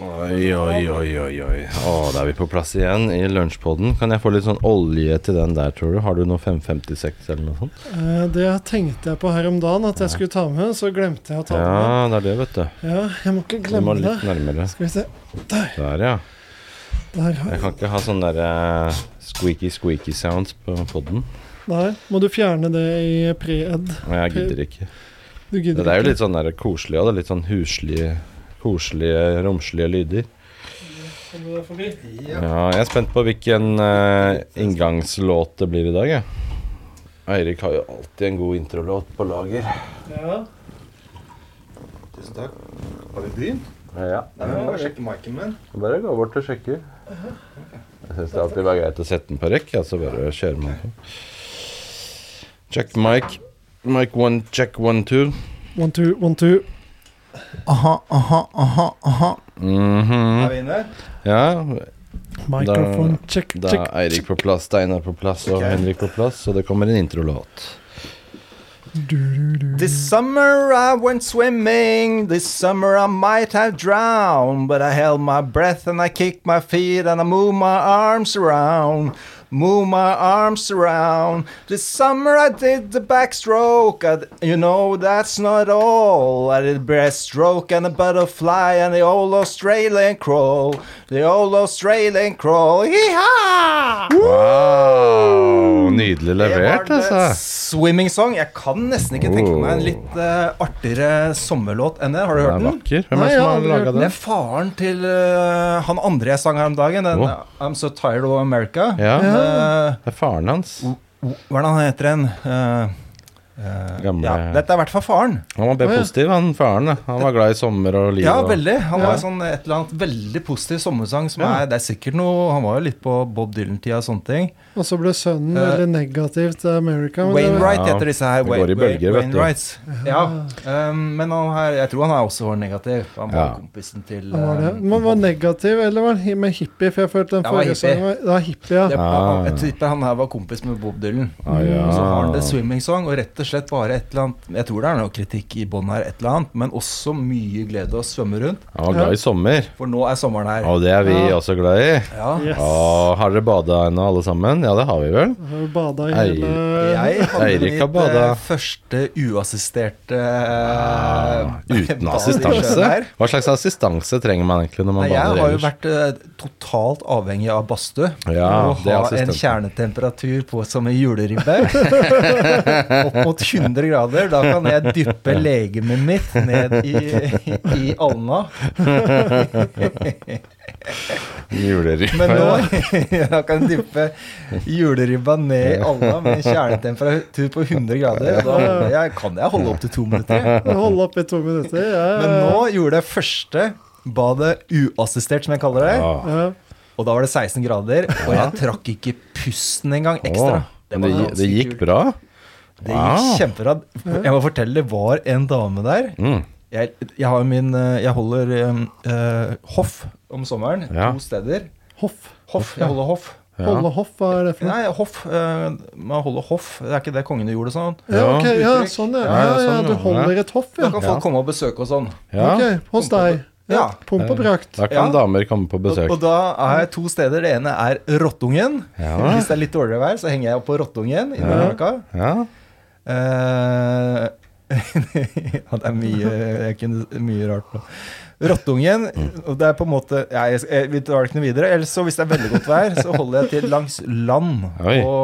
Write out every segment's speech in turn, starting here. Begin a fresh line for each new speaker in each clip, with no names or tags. Oi, oi, oi, oi, oi. Å, da er vi på plass igjen i lunsjpodden. Kan jeg få litt sånn olje til den der, tror du? Har du noe 556 eller noe sånt?
Eh, Det tenkte jeg på her om dagen at jeg skulle ta med, så glemte jeg å ta det med.
Ja, det er det, vet du.
Ja, jeg må ikke
Du må
glemme det.
litt nærmere.
Skal vi se. Der.
Der, ja.
Der.
Jeg
har-
kan ikke ha sånne der, eh, squeaky, squeaky sounds på podden.
Der. Må du fjerne det i pre-ed?
Og jeg gidder ikke.
Du
Det
gidder
er jo
ikke.
litt sånn der koselig òg. Litt sånn huslige, koselige, romslige lyder.
Kom du deg forbi?
Ja, jeg er spent på hvilken eh, inngangslåt det blir i dag, jeg. Eirik har jo alltid en god introlåt på lager.
Ja.
Tusen takk. Har vi begynt?
Ja,
Nei, vi må bare sjekke miken min.
Bare gå bort og sjekke. Jeg syns det alltid var greit å sette den på rekk, ja, så bare kjører man på. Check mic. Mic one, check one, two.
One, two, one, two.
Aha, aha, aha, aha.
Mhm.
Er vi inne?
Ja,
Microphone check,
da
check.
er Eirik på plass, Steinar på plass og
Ok.
Henrik på plass, og det kommer en introlåt.
This summer I went swimming. This summer I might have drowned. But I held my breath and I kicked my feet and I moved my arms around. Move my arms around. This summer I did the backstroke. I, you know, that's not all. I did breaststroke and a butterfly and the old Australian crawl. The old Australian crawl. Hee-haw!
Wow! Nydelig
Det
levert,
var det
altså.
eh, Swimming Song. Jeg kan nesten ikke tenke meg en litt eh, artigere sommerlåt enn det. Har du
Den
hørt
er
den?
vakker. Hvem er det
Nei,
som
jeg har
har
aldri
laga
hørt
Det
den?
er faren til eh, han andre jeg sang her om dagen. Den, eh,
Å.
I'm So Tired of America.
Ja,
Den, eh,
det er faren hans.
hva er det han heter igjen? Eh, eh,
Gamle-
ja, dette er i hvert fall faren.
Han var
Å, ja.
B-positiv, han faren. da. Han var glad i sommer og liv.
Ja,
og-
veldig. Han
Ja.
var sånn et eller annet veldig positiv sommersang. Som
Ja.
er, det er sikkert noe Han var jo litt på Bob Dylan-tida og sånne ting.
Og så ble sønnen
Eh,
veldig negativ til America. men det-
Wainwright
Ja.
heter disse her.
Det går i bølger, vet du.
Wainwrights. Ja. Um, men han her, jeg tror han er også negativ. Han var
Ja.
kompisen til
Han var det.
um,
Men var negativ, eller var han hi- med hippie? For jeg følte den
Jeg var
forrige
hippie.
sangen var Det var hippie, ja.
det,
Ah.
Jeg tipper han her var kompis med Bob Dylan. Mm.
Ah, ja.
Så har han The Swimming Song, og rett og slett bare et eller annet Jeg tror det er noe kritikk i bånn her, et eller annet, men også mye glede å svømme rundt.
Han var glad i sommer,
For nå er sommeren her.
og det er vi
Ja.
også glad i.
Ja.
Yes.
Å, har dere bada ennå, alle sammen? Ja, det har vi vel.
Har jo bada i
Ei.
hele
Jeg hadde
Eirik
mitt
har bada.
eh, første uassisterte eh, bad
Ah, Uten
i sjøen her.
assistanse. Hva slags assistanse trenger man egentlig når man
Nei, jeg
bader
har jo
ellers?
vært eh, totalt avhengig av badstue.
Ja,
For
det er
å ha en
assistenten.
kjernetemperatur på som en juleribbe. Opp mot 100 grader. Da kan jeg dyppe legemet mitt ned i, i alna.
Juleribbe.
Men nå da kan jeg dyppe juleribba ned i alna med en kjernetemperatur på 100 grader. Da holder jeg, kan jeg holde opp til to minutter. jeg.
Holde opp i to minutter. Ja,
Men nå gjorde jeg første badet uassistert, som jeg kaller det.
Ja.
ja.
Og da var det 16 grader, og jeg trakk ikke pusten engang ekstra.
Å, men det,
var
gi-
ganske
det gikk
kult.
bra? Ah.
Det gikk kjempebra. Jeg må fortelle, det var en dame der.
Mm.
Jeg, jeg, har min, eh, jeg holder eh, eh, hoff om sommeren,
Ja.
to steder.
Hoff.
Hoff, jeg holder hoff.
Ja.
Holde hoff, hva er det for noe?
Nei, hoff, eh, man holder hoff. Det er ikke det kongene gjorde sånn.
Ja, ok, ja,
uttrykk.
sånn ja.
Ja,
Ja,
ja,
ja,
sånn,
du
ja.
holder et hoff,
Da
ja.
kan folk komme og besøke og sånn.
Ja.
Ok, hos deg. Ja.
Ja.
Pump og prakt.
Da kan
Ja.
damer komme på
Og, og
besøk.
da er jeg to steder. Det ene er Rottungen.
Ja.
Hvis det er litt dårligere vær, så henger jeg opp på Rottungen. i Nordmarka.
Ja.
Eh, ja, det er mye, jeg kunne, mye rart nå. Rottungen og det er på en måte ja, jeg, jeg, Vi tar det ikke noe videre. Ellers så hvis det er veldig godt vær, så holder jeg til langs land
Oi.
på,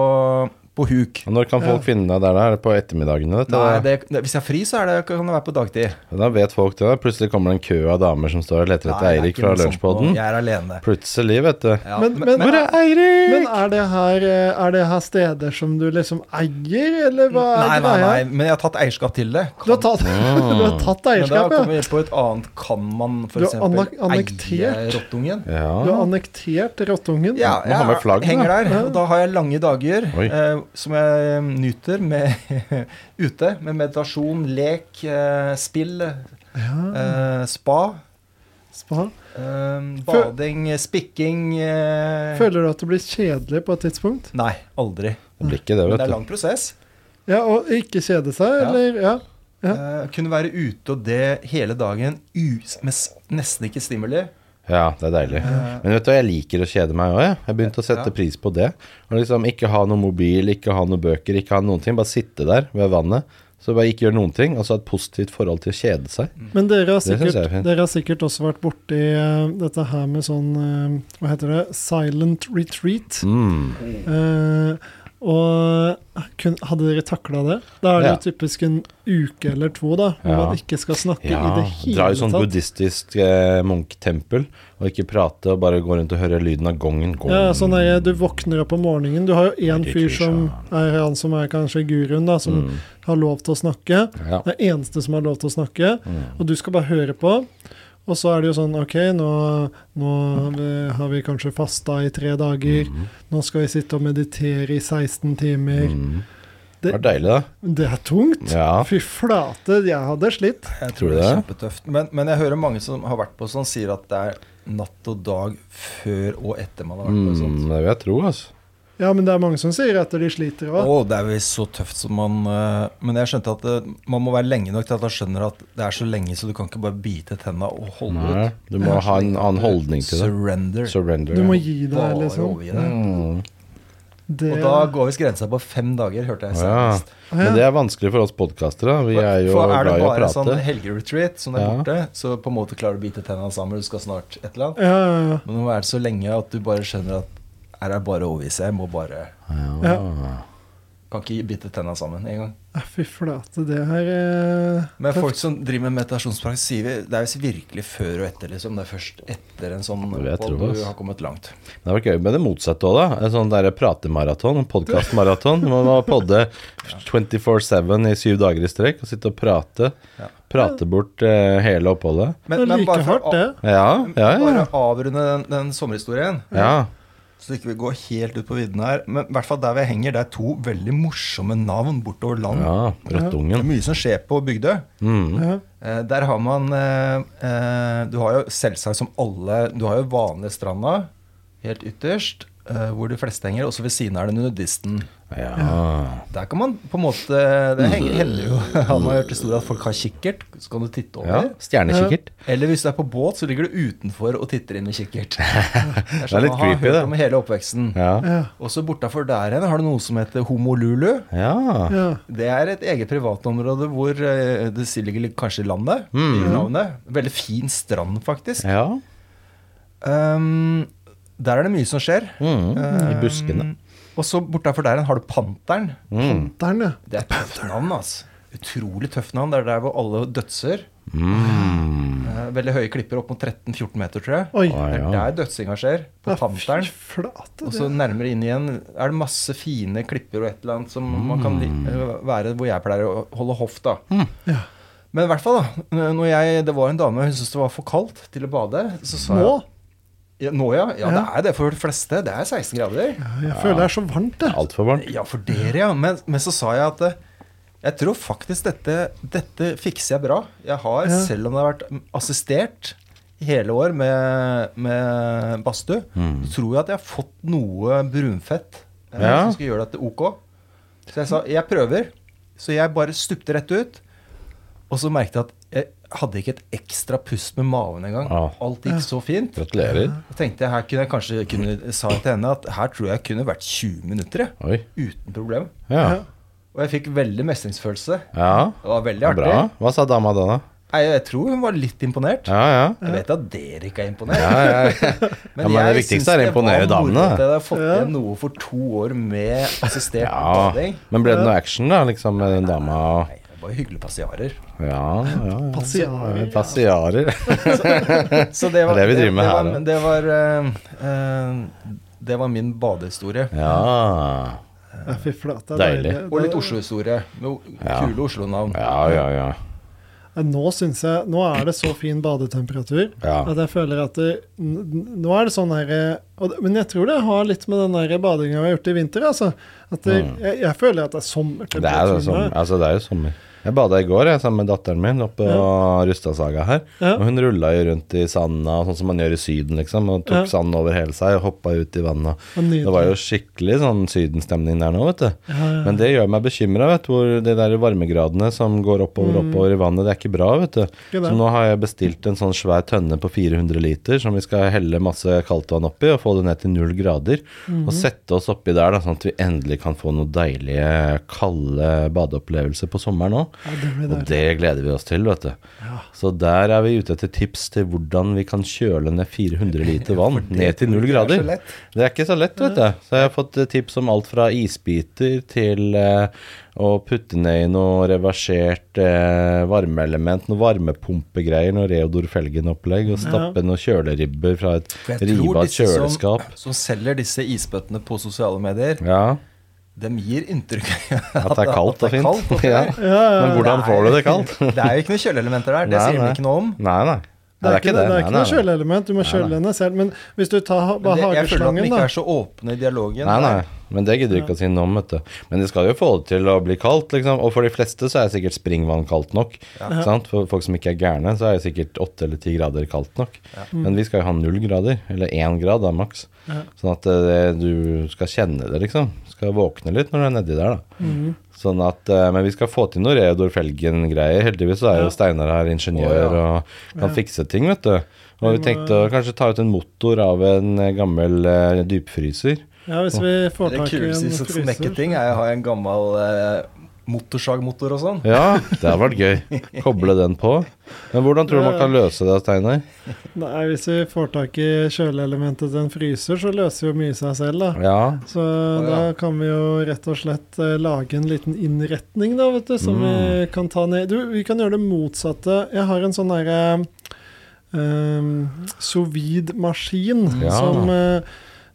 på huk.
Og Når kan folk finne deg der? da? Er det på ettermiddagene? dette,
Nei,
da?
det, det, hvis jeg er fri, så er det, kan det være på dagtid.
Da vet folk det. da. Plutselig kommer det en kø av damer som står og leter
Nei,
etter
det er
Eirik
ikke
fra
noe sånt nå.
lunsjpodden.
Jeg er alene.
Plutselig, vet du.
Ja,
Men-
men,
men-
men,
Hvor er Eirik?
Men er det, her, eh, er det her steder som du liksom eier, eller hva
nei,
er
nei,
greia?
nei, men jeg har tatt eierskap til det.
Du har tatt, du har tatt
men da
eierskap,
kommer
ja.
vi på et annet Kan man
Du har
f.eks.
annek-
eie
annektert.
rottungen?
Du har
Ja.
annektert rottungen.
Ja,
Må ha med flagg, da.
jeg henger der. Og da har jeg lange dager
Oi.
eh, som jeg eh, nyter med, ute. Med meditasjon, lek, eh, spill, eh, spa,
Spa.
eh,
Fø-
bading, spikking eh,
Føler du at det blir kjedelig på et tidspunkt?
Nei, aldri.
Det blir ikke det,
Men det
vet
er
du.
lang prosess.
Ja, og ikke kjede seg,
Ja.
eller? Ja. Ja.
Eh, kunne være ute og det hele dagen u med s- nesten ikke stimuli.
Ja, det er deilig. Men vet du hva, jeg liker å kjede meg òg, jeg. Jeg begynte å sette
Ja.
pris på det. Og liksom Ikke ha noe mobil, ikke ha noen bøker, ikke ha noen ting. Bare sitte der ved vannet. Så bare ikke gjøre noen ting. Altså ha et positivt forhold til å kjede seg.
Men dere har,
Det synes
sikkert,
jeg er fint.
dere har sikkert også vært borti uh, dette her med sånn eh, Hva heter det? Silent retreat.
Mm.
Eh, og kun, hadde dere takla det? Da er det
Ja.
jo typisk en uke eller to da hvor
Ja.
man ikke skal snakke
Ja.
i det
Dra
hele
i sånn
tatt.
buddhistisk eh, munktempel og ikke prate og bare gå rundt og høre lyden av gongen. Gong.
Ja, sånn er, du våkner opp om morgenen. Du har jo én fyr som er han som er kanskje guruen, da, som
Mm.
har lov til å snakke.
Ja.
Det er eneste som har lov til å snakke. Og du skal bare høre på. Og så er det jo sånn OK, nå, nå har vi- har vi kanskje fasta i tre dager. Nå skal vi sitte og meditere i 16 timer.
Mm. Det
Det-
var deilig, da.
Det er tungt.
Ja.
Fy flate, jeg hadde slitt.
Jeg
Tror du
det er
det?
kjempetøft. Men, men jeg hører mange som har vært på sånn, sier at det er natt og dag før og etter man har vært på
sånn.
Mm,
sånt.
det vil jeg tro, altså.
Ja, men det er mange som sier at de sliter
Å,
òg.
det er visst så tøft som man eh, Men jeg skjønte at eh, man må være lenge nok til at man skjønner at det er så lenge, så du kan ikke bare bite tenna og holde
Nei,
ut.
du må ha en annen holdning til det.
Surrender.
Surrender.
sånn- Du må
ja.
gi
Bare
deg, liksom.
overgi deg.
Mm.
Det,
Og da går visst grensa på fem dager, hørte jeg
Ja.
senest.
Men det er vanskelig for oss podcastere. Vi er jo
For
glad
er det
i å
bare
prate.
sånn helgeretreat som er
Ja.
borte, så på en måte klarer du å bite tenna sammen, du skal snart et eller annet.
ja, ja, ja.
Men nå er det så lenge at du bare skjønner at her er det bare å overgi seg. Jeg må bare
Ja.
Kan ikke bite tenna sammen en gang.
Ja, Fy flate, det her eh,
Men
tøft.
folk som driver med meditasjonspraksis, sier vi, det er visst virkelig før og etter, liksom. Det er først etter en sånn
Det vil jeg tro,
opphold du
ass.
har kommet langt.
Det var gøy med det motsatte òg, da. En sånn der pratemaraton, en podkastmaraton. Man må podde 24-7 i syv dager i strekk og sitte og prate.
Ja.
Prate bort eh, hele oppholdet.
Det er like hardt, det.
Ja, ja, ja.
Bare avrunde den, den sommerhistorien,
ja.
så ikke vi går helt ut på vidden her. Men i hvert fall der vi henger, det er to veldig morsomme navn bortover land.
ja
Det er
Røttungen.
mye som skjer på Bygdøy.
Mm.
Ja.
Eh, der har man eh, eh, Du har jo selvsagt som alle Du har jo vanlige stranda helt ytterst, eh, hvor de fleste henger, og så ved siden er det nudisten.
Ja.
Der kan man på en måte
Mm.
Det henger, hender jo Han har hørt historie at folk har kikkert, så kan du titte
ja.
over.
Stjernekikkert.
Eller hvis du er på båt, så ligger du utenfor og titter inn med kikkert. Det er sånn
litt
man har
creepy, det.
hørt om hele oppveksten.
Ja.
Ja.
Og så bortafor der igjen har du noe som heter Homolulu.
ja.
ja.
Det er et eget privatområde hvor eh, det ligger litt- kanskje i landet. I
Mm.
navnet. Veldig fin strand, faktisk.
ja.
Um, der er det mye som skjer.
Mm. I buskene.
Um, og så bortafor der igjen har du Panteren.
Mm.
Der, ja.
Det er et tøft navn, altså. Utrolig tøft navn. Det er der hvor alle dødser.
Mm.
Eh, Veldig høye klipper, opp mot 13-14 meter, tror jeg.
Oi.
Å,
Det er
ja.
der dødsinga skjer. På
Ja,
Panteren.
Fy flate,
Og så
det.
nærmere inn igjen er det masse fine klipper og et eller annet som man kan li
Mm.
eh, være hvor jeg pleier å holde hoff, da.
Ja.
Men i hvert fall, da. Når jeg, det var en dame, hun syntes det var for kaldt til å bade. Så sa
Nå?
jeg ja, Nå, ja. Ja, det
Ja.
er det for de fleste. Det er 16 grader.
Ja, Jeg føler det er så varmt, det.
Altfor varmt.
Ja, for dere, ja. Men, men så sa jeg at eh, jeg tror faktisk dette, dette fikser jeg bra. Jeg har,
Ja.
selv om det har vært assistert i hele år med, med badstue, så tror jeg at jeg har fått noe brunfett eh,
Mm. Ja.
som skal gjøre dette ok. Så jeg sa jeg prøver. Så jeg bare stupte rett ut. Og så merket jeg at jeg hadde ikke et ekstra pust med maven engang.
Ah.
Alt gikk så fint.
Gratulerer.
Da tenkte jeg her kunne jeg kanskje kunne, sa jeg til henne at her tror jeg kunne vært 20 minutter. jeg.
Oi.
Uten problem.
Ja.
Og jeg fikk veldig mestringsfølelse.
ja.
Det var veldig artig.
Bra. Hva sa dama da, da?
Nei, jeg tror hun var litt imponert.
Ja, ja.
Jeg vet at dere ikke er imponert.
ja, ja, ja. Ja, men det viktigste er å imponere damene,
Jeg
da.
har fått igjen noe for to år med assistert
Ja,
bading.
men ble det noe action da, liksom med den dama? og-
Nei, det var jo hyggelige passiarer.
Ja, ja, ja.
Passiarer.
Passiarer.
Så det
Det er det vi driver med her,
var, det var, eh, eh, det var min badehistorie.
Ja.
Ja, fy flate. det er
Deilig.
Og litt Oslo-historie. Med
Ja.
kule Oslo-navn.
Ja, ja, ja.
Ja, Nå syns jeg Nå er det så fin badetemperatur
Ja.
at jeg føler at det, n- n- Nå er det sånn her eh, og det- Men jeg tror det har litt med den der badinga vi har gjort i vinter, altså. At det, jeg, jeg føler at det
Mm. Det er jo
er sommertemperatur. nå.
sommer. Altså, det er jo sommer. Jeg bada i går jeg, sammen med datteren min oppe på Rustadsaga her.
Ja.
Og hun rulla jo rundt i sanda, sånn som man gjør i Syden, liksom. Og tok
Ja.
sand over hele seg og hoppa ut i vannet.
Og nydelig.
Det var jo skikkelig sånn sydenstemning der nå, vet du.
Ja, ja.
Men det gjør meg bekymra, vet du. Hvor de der varmegradene som går oppover oppover i vannet, det er ikke bra, vet du.
Mm. Ikke det.
Så nå har jeg bestilt en sånn svær tønne på 400 liter som vi skal helle masse kaldtvann oppi og få det ned til null grader.
Mhm.
Og sette oss oppi der, da, sånn at vi endelig kan få noen deilige, kalde badeopplevelser på sommeren òg.
Ja, det blir
Og
deilig.
det gleder vi oss til, vet du. Så der er vi ute etter tips til hvordan vi kan kjøle ned 400 liter vann ned til null
ikke er så
grader.
lett.
Det er ikke så lett, vet du. Så jeg har fått eh, tips om alt fra isbiter til eh, å putte ned i noe reversert eh, varmeelement, noe varmepumpegreier, noe Reodor Felgen-opplegg, og stappe noen kjøleribber fra et
For jeg tror
riva
disse som,
kjøleskap.
som selger disse isbøttene på sosiale medier,
Ja,
de gir inntrykk av
At det er kaldt og
det er
fint.
kaldt og
Ja.
fint.
Men hvordan
Nei.
får du det kaldt?
Det er jo ikke noen kjøleelementer der, det
Nei,
sier de
nei.
ikke noe om.
Nei, nei.
Det er ikke, det, det er
Nei,
ikke
nei,
noe
nei.
kjøleelement, du må kjøle henne selv. Men hvis du tar ha-
Men
bare
det, jeg føler at de
hageslangen,
ikke
da.
er så åpne i dialogen.
Nei, nei, men det gidder vi ikke å si noe om, vet du. Men det skal jo få det til å bli kaldt, liksom. Og for de fleste så er sikkert springvann kaldt nok. Sant? For folk som ikke er gærne, så er det sikkert 8 eller 10 grader kaldt nok. Men vi skal jo ha null grader, eller én grad da, maks. Sånn at eh, du skal kjenne det, liksom. Skal våkne litt når du er nedi der, da.
Mm.
Sånn at, eh, Men vi skal få til noe Reodor Felgen-greier. Heldigvis så er jo Steinar her ingeniør
Å, ja.
og kan fikse ting, vet du. Og vi tenkte å kanskje ta ut en motor av en eh, gammel eh, dypfryser.
Ja, hvis vi får
Det
tak i
kuleste
en
i
fryser.
snekketing er å ha en gammel eh, motorsagmotor og sånn.
Ja, det hadde vært gøy. Koble den på. Men hvordan tror du man kan løse det, Steinar?
Nei, hvis vi får tak i kjøleelementet til en fryser, så løser jo mye seg selv, da.
Ja.
Så
ja.
da kan vi jo rett og slett eh, lage en liten innretning, da, vet du, som
Mm.
vi kan ta ned. Du, vi kan gjøre det motsatte. Jeg har en sånn derre um, sovid-maskin
Ja.
som eh,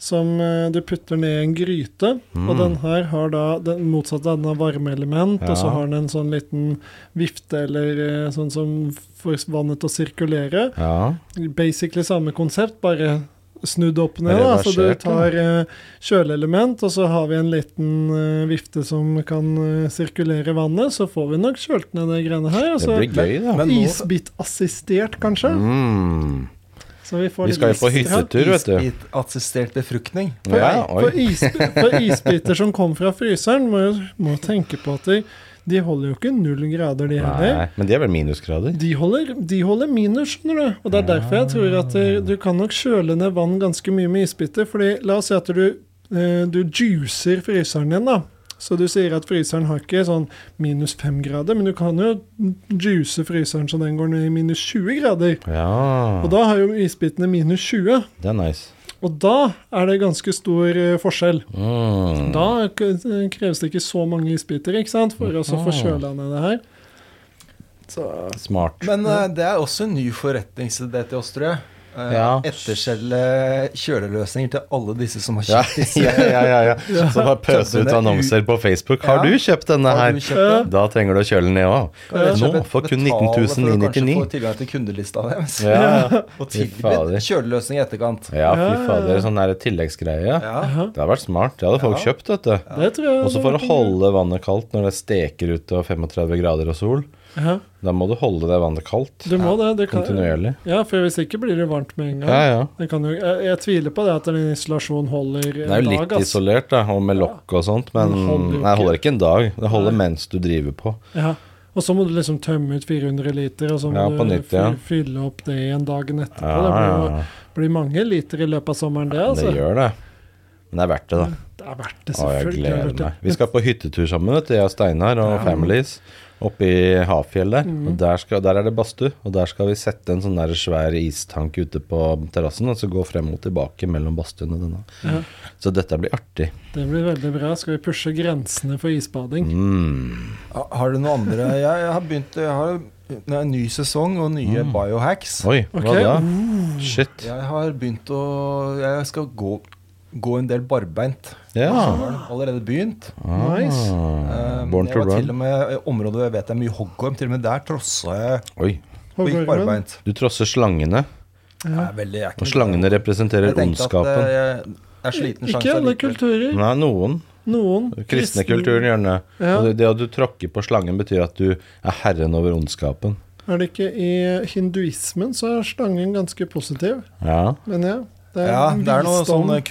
som eh, du putter ned i en gryte,
Mm.
og den her har da den motsatte av den har varmeelement, og så
Ja.
har den en sånn liten vifte eller eh, sånn som får vannet til å sirkulere
Ja.
basically samme konsept, bare snudd opp ned. Da. Så du
Reversert,
tar eh, kjøleelement, og så har vi en liten eh, vifte som kan eh, sirkulere vannet, så får vi nok kjølt ned de greiene her. Og
Det
så
blir gøy, da.
Men nå-
isbitassistert, kanskje.
Mm.
Så vi får
Vi skal jo
litt
på
ekstra.
hyttetur, vet du.
Isbit-assistert befruktning.
Ja,
For,
oi.
isbi for isbiter som kom fra fryseren, må jo må tenke på at de, de holder jo ikke null grader, de heller.
Nei, men det er vel minusgrader?
De holder, de holder minus, skjønner du. Og det er derfor jeg tror at eh, du kan nok kjøle ned vann ganske mye med isbiter. Fordi la oss si at du, eh, du juicer fryseren din, da. Så du sier at fryseren har ikke sånn minus 5 grader, men du kan jo juice fryseren så den går ned i minus 20 grader.
Ja,
Og da har jo isbitene minus 20,
det er nice.
og da er det ganske stor eh, forskjell.
Mm.
Da k- eh, kreves det ikke så mange isbiter ikke sant, for å så få kjøla ned det her.
Smart.
Men eh, det er også en ny forretningsidé til oss, tror jeg. Eh,
Ja.
Etterselge kjøleløsninger til alle disse som har
Ja,
kjøpt disse.
ja, ja, ja, ja. Så bare pøse ut annonser på Facebook. Har du kjøpt denne
Har
her?
du kjøpt den?
Da trenger du å kjøle den ned òg.
Kan jeg
Nå
kjøpe et-
for kun
betale for
19
å Kanskje få
999.
tilgang til kundelista deres.
Ja,
Og
Fy fader.
tilbudt kjøleløsning i etterkant.
ja, fy fader. Sånn der tilleggsgreie.
Ja.
Det hadde vært smart. Det hadde folk kjøpt, vet du.
Det tror jeg
Og så
det
for å
var-
holde vannet kaldt når det steker ut av 35 grader og sol,
Ja.
da må du holde det vannet kaldt
Du må det. det kan,
kontinuerlig.
Ja, for hvis ikke blir det varmt med en gang.
Ja, ja.
Det kan jo, jeg, jeg tviler på det at den isolasjonen holder en
Det er jo litt
dag. ass.
isolert, da, og med lokk og sånt, men
Den holder jo
nei, det holder ikke en dag. Det holder
Nei.
mens du driver på.
Ja. Og så må du liksom tømme ut 400 liter, og så må
Ja, på
du
nytt, ja.
fy- fylle opp det igjen dagen etterpå.
Ja,
Det blir,
ja, ja.
jo, blir mange liter i løpet av sommeren, det. altså.
Det gjør det. Men det er verdt det, da.
Det er verdt det,
Å, jeg
selvfølgelig.
gleder meg. Vi skal på hyttetur sammen, vet du. Jeg og Steinar og families oppe i Hafjell der. Og der, skal, der er det badstue. Og der skal vi sette en sånn der svær istank ute på terrassen, og så gå frem og tilbake mellom badstuen og denne.
Ja.
Så dette blir artig.
Det blir veldig bra. Skal vi pushe grensene for isbading?
Mm.
Ha- Har du noen andre? Jeg, jeg har begynt jeg har, Det er en ny sesong og nye biohacks.
Mm. Oi, hva
Ok.
da? Shit.
Jeg har begynt å Jeg skal gå, gå en del barbeint.
Ja.
Jeg har Allerede begynt.
Nice.
Ah,
Eh,
Born
jeg
to
var til og
run.
med i området hvor jeg vet det er mye hoggorm. Til og med der trossa jeg
Oi.
og gikk
Hoggormen.
barbeint.
Du trosser slangene,
Jeg er veldig, jeg er ikke
og slangene representerer
Jeg tenkte at, eh,
ondskapen.
Jeg jeg er sliten sjanse
Ikke alle
allikevel.
kulturer.
Nei, noen.
Noen
Kristne kulturen gjør den det.
Ja.
Og det- Det at du tråkker på slangen, betyr at du er herren over ondskapen.
Er det ikke i hinduismen så er slangen ganske positiv,
Ja.
mener jeg. Det
Ja,
en
det er noe
visdom.
sånn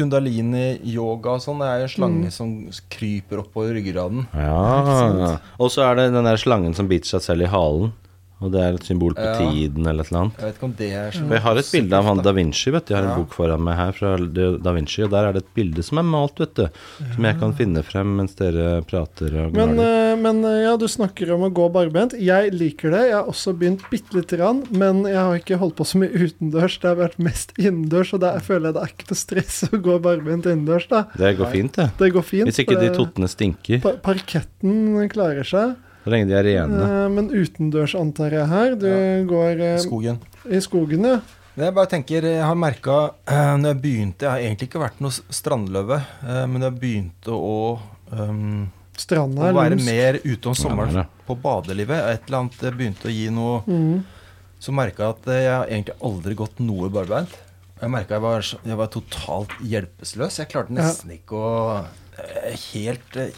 kundalini-yoga og sånn. Det er en slange som s- kryper oppover ryggraden.
ja. Og så er det den der slangen som biter seg selv i halen. Og det er et symbol på
Ja.
tiden eller et eller annet.
Jeg vet ikke om det er
For
sånn.
jeg har et bilde av han da Vinci, vet du. Jeg har en
Ja.
bok foran meg her fra da Vinci, og der er det et bilde som er malt, vet du. Som jeg kan finne frem mens dere prater og
Men,
gnager.
eh, men eh, ja, du snakker om å gå barbent. Jeg liker det. Jeg har også begynt bitte lite grann, men jeg har ikke holdt på så mye utendørs. Det har vært mest innendørs, og der føler jeg det er ikke noe stress å gå barbent innendørs, da.
Det går fint, det.
Det går fint. eh,
Hvis ikke
for
de
det-
tottene stinker.
pa- Parketten klarer seg,
Så lenge de er rene.
eh, men utendørs antar jeg her. Du går eh,
Skogen.
i skogen, ja.
Men Jeg bare tenker, eh, jeg har merka når jeg begynte Jeg har egentlig ikke vært noe s- strandløve, eh, men jeg begynte å, ehm,
Stranda
å
er
være
lumsk.
mer ute
Ja,
om
det er
sommeren
det.
på badelivet. Et eller annet det begynte å gi noe
Mm.
Så merka jeg at eh, jeg har egentlig aldri gått noe barbeint. Jeg merka jeg, var så- jeg var totalt hjelpeløs. Jeg klarte nesten ikke å eh, Helt eh,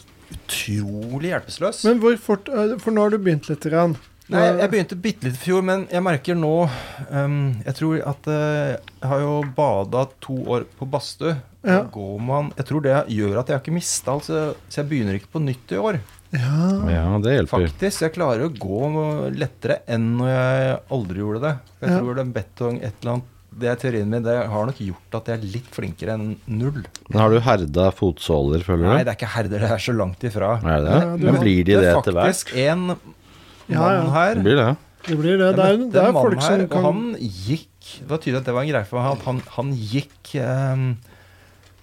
utrolig hjelpeløs.
Men hvor fort eh, For nå har du begynt litt. Grann.
Nei, jeg begynte bitte litt i fjor, men jeg merker nå ehm, Jeg tror at eh, Jeg har jo bada to år på badstue.
Ja.
Da Går man Jeg tror det gjør at jeg har ikke mista alt, så, så jeg begynner ikke på nytt i år.
Ja.
Ja, det hjelper.
Faktisk. Jeg klarer å gå lettere enn når jeg aldri gjorde det. Jeg
Ja.
tror det er betong et eller annet Det er teorien min. Det har nok gjort at jeg er litt flinkere enn null.
Men har du herda fotsåler, føler du?
Nei, det er ikke herder. Det er så langt ifra.
Er det det?
Ja, du
Men
vet
blir de det etter hvert?
faktisk en
Ja, ja.
mann her
Det blir det.
Det blir det. Det er,
Jeg møtte
det er
en mann
folk som
her, og
kan
Han gikk Det var tydelig at det var en greie for ham. at Han, han gikk eh,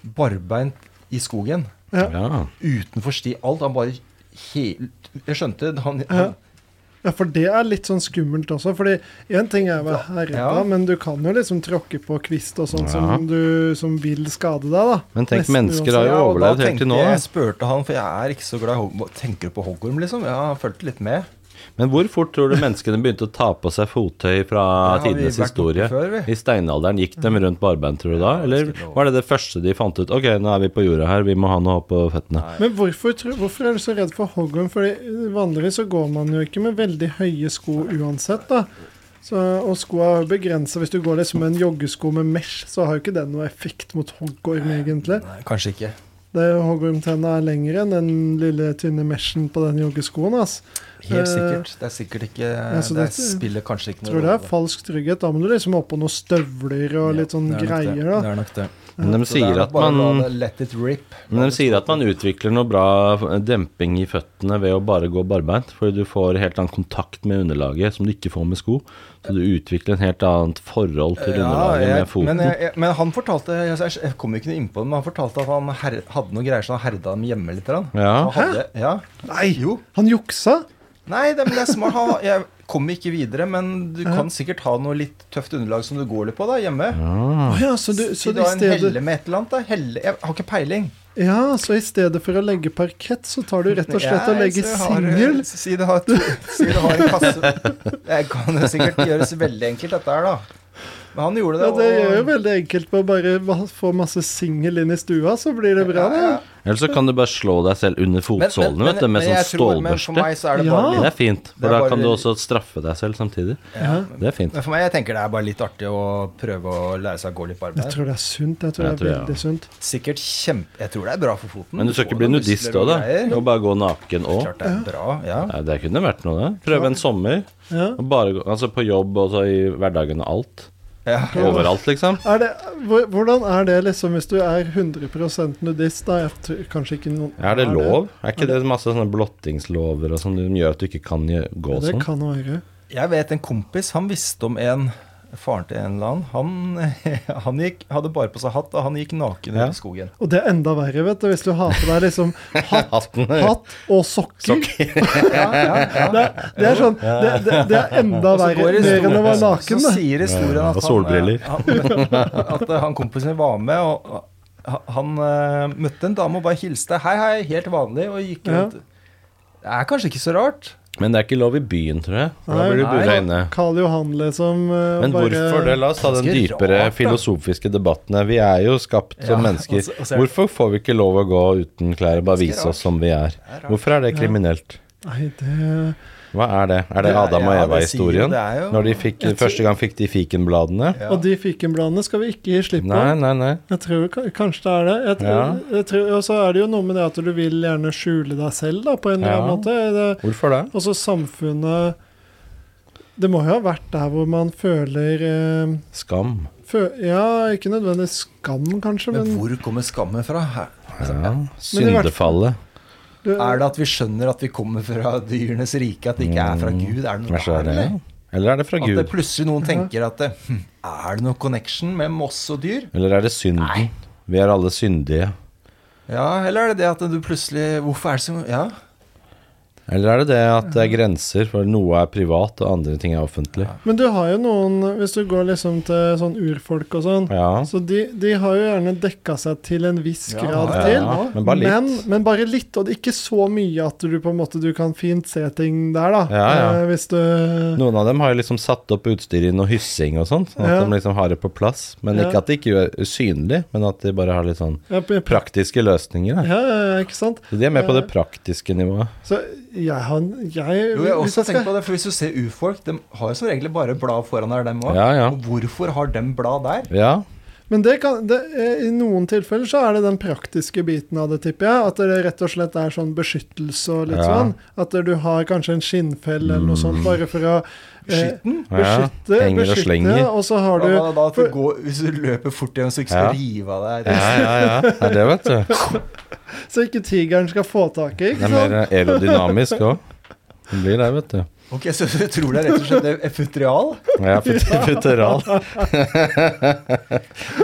barbeint i skogen.
Ja.
Ja.
Utenfor sti. Alt. Han bare helt Jeg skjønte han, han
Ja, for det er litt sånn skummelt også. Fordi én ting er å være herda,
Ja.
men du kan jo liksom tråkke på kvist og sånt
Ja.
som, du, som vil skade deg, da.
Men tenk,
Nesten
mennesker har
uansett.
jo
Ja, og da
overlevd helt til
tenkte
nå.
Jeg
da.
spurte han, for jeg er ikke så glad i hoggorm. Tenker du på hoggorm, liksom? Ja, jeg fulgte litt med.
Men hvor fort tror du menneskene begynte å ta på seg fottøy fra
Det har vi
tidenes
vært
historie?
borte før, vi.
I steinalderen gikk de rundt barbeint, tror du da? Eller
skulle lov.
var det det første de fant ut? Ok, nå er vi på jorda her, vi må ha noe på føttene.
Men hvorfor, tro- hvorfor er du så redd for hoggorm? Fordi eh, vanligvis så går man jo ikke med veldig høye sko uansett, da. Så, og skoa er jo begrensa. Hvis du går liksom med en joggesko med mesh, så har jo ikke den noe effekt mot hoggorm, egentlig.
Nei, kanskje ikke.
Det Hoggormtenna er lengre enn den lille, tynne meshen på den joggeskoen, ass. Eh,
Helt sikkert. Det er sikkert ikke
så
Det
det-
spiller kanskje ikke
Jeg
noe
tror det er
rolle.
falsk trygghet. Da må du liksom opp på noen støvler og litt sånn
Ja, det er nok det.
greier, da.
Det er nok det.
Men de
Så det er
sier
nok
at
bare å la
man
det Let it rip.
men de sier at man utvikler noe bra demping i føttene ved å bare gå barbeint, fordi du får helt annen kontakt med underlaget som du ikke får med sko. Så du utvikler en helt annet forhold til underlaget
Eh, jeg-
med foten.
Men, jeg, jeg, men han fortalte jeg, jeg, jeg kom ikke noe innpå det, men han fortalte at han her, hadde noen greier som han herda dem hjemme litt. grann.
Ja.
Han hadde, ja.
Nei!
Jo.
Han juksa?
Nei, det, men det er smart. Han, jeg kom ikke videre, men du kan sikkert ha noe litt tøft underlag som du går litt på da, hjemme.
Å ja, så, du,
Si
så,
da
i
en helle
stedet,
med et eller annet. da. Helle, jeg har ikke peiling.
ja, så i stedet for å legge parkett, så tar du rett og slett og
Jeg-
legger
så har- eh,
singel?
Si det har, si det har en kasse. Jeg kan det sikkert gjøres veldig enkelt, dette her, da. Men han gjorde det.
Ja, det gjør jo
og-
veldig enkelt på å bare va- få masse singel inn i stua, så blir det bra, det.
Ja, ja.
Eller så kan du bare slå deg selv under
Men- men-
fotsålene vet du, med
men
sånn
jeg tror- Men for
stålbørste.
meg så er det bare
Ja.
litt
Det er fint,
Det
for
er
da
bare-
kan du også straffe deg selv samtidig.
Ja.
Det er fint.
Men for meg, jeg tenker det er bare litt artig å prøve å lære seg å gå litt
Jeg
på arbeid.
tror det er sunt. Jeg tror
Jeg
det er
tror jeg
veldig sunt.
Sikkert kjempe... Jeg tror det er bra for foten.
Men du skal
Få
ikke bli
noen
nudist
muskler
òg,
og
da?
greier.
Og bare gå naken òg?
Klart det er bra, ja.
Nei, det kunne vært noe, det. Prøve en sommer.
Ja.
Og bare gå, altså på jobb og så i hverdagen og alt.
ja.
Overalt, liksom.
Er det, hvor- hvordan er det liksom hvis du er 100 nudist, da? Jeg tror, kanskje ikke noen
Er det lov? Er ikke det masse sånne blottingslover og sånn som gjør at du ikke kan gjø- gå
Det
sånn?
kan være.
Jeg vet en kompis, han visste om en Faren til en eller annen. Han, han gikk, hadde bare på seg hatt, og han gikk naken
Ja.
ut i skogen.
Og det er enda verre, vet du, hvis du har på deg liksom hatt,
Hatten, ja.
hatt og sokker.
Ja, ja, ja.
Det, er- det er sånn Det, det, det er enda
Og så
verre
går det
mer enn å være
historien-
naken.
Så
da.
sier historien
Ja,
at
og solbriller.
Han, han, at eh, han kompisen min var med, og han eh, møtte en dame og bare hilste. Hei, hei, helt vanlig, og gikk
Ja.
rundt. Det er kanskje ikke så rart.
Men det er ikke lov i byen, tror jeg. For da
Nei.
blir du bura inne.
Karl Johan, liksom. eh,
Men
bare-
hvorfor det? La oss ta den
Ganske
dypere
rart, da.
filosofiske debattene. Vi er jo skapt som mennesker.
og så- og så er-
Hvorfor får vi ikke lov å gå uten klær og bare vise oss som vi er? Hvorfor er det kriminelt?
Nei, det
Hva er det? Er det
Det er-
Adam og
ja, det
Eva-historien?
sier jo- det er jo-
Når de fikk, første gang fikk de fikenbladene?
Ja.
Og de fikenbladene skal vi ikke gi slipp på.
Nei, nei, nei.
Jeg tror ka- kanskje det er det. Jeg tror,
Ja.
jeg tror, og så er det jo noe med det at du vil gjerne skjule deg selv, da, på en eller annen
Ja.
måte. Det,
Hvorfor det?
og så samfunnet Det må jo ha vært der hvor man føler eh,
Skam.
fø, Ja, ikke nødvendigvis skam, kanskje, men,
Men hvor kommer skammen fra? Her-
Ja.
Men i hvert
Syndefallet.
du,
Er det at vi skjønner at vi kommer fra dyrenes rike, at det ikke er fra Gud? Er det noe
Hva er
der,
det?
eller?
Eller er det fra
At det
Gud?
plutselig noen tenker at det, hm, Er det noe connection med moss og dyr?
Eller er det synden? Vi er alle syndige.
Ja, eller er det det at du plutselig Hvorfor er det så Ja,
Eller er det det at det er grenser, for noe er privat og andre ting er offentlig?
men du har jo noen Hvis du går liksom til sånn urfolk og sånn,
Ja.
så de, de har jo gjerne dekka seg til en viss
Ja,
grad
ja,
til.
ja, men bare litt.
Men, men bare litt, og det er ikke så mye at du på en måte du kan fint se ting der, da.
Ja, ja.
Eh, Hvis du
Noen av dem har jo liksom satt opp utstyr i noe hyssing og sånt, sånn at
Ja.
de liksom har det på plass. Men
Ja.
ikke at det ikke er usynlig, men at de bare har litt sånn
ja, p- p-
praktiske løsninger. Da.
ja, ja, ikke sant?
Så de er med på
Ja.
det praktiske nivået.
Så jeg har jeg,
Jo, jeg har
hvis jeg
også tenkt
skal-
på det, for hvis du ser urfolk, de har jo som regel bare blad foran der, dem òg.
Ja, ja.
Og hvorfor har dem blad der?
Ja,
Men det kan, det, eh, i noen tilfeller så er det den praktiske biten av det, tipper jeg. At det rett og slett er sånn beskyttelse og litt
Ja. Mm.
sånn. At du har kanskje en skinnfelle eller noe sånt, bare for å eh,
Skitten?
Ja,
beskytte.
henger og
beskytte,
slenger.
og så har
Da,
du
da, da, at du
for-
går, hvis du løper fort igjen, så ikke
Ja.
skal rive av deg.
ja, ja. ja. Det er det, vet du.
Så ikke tigeren skal få tak i.
Det er
ikke sant?
mer eh, aerodynamisk òg. Det blir det, vet du.
Ok, Så du tror det er rett og slett et futrial?
Ja, fut futural.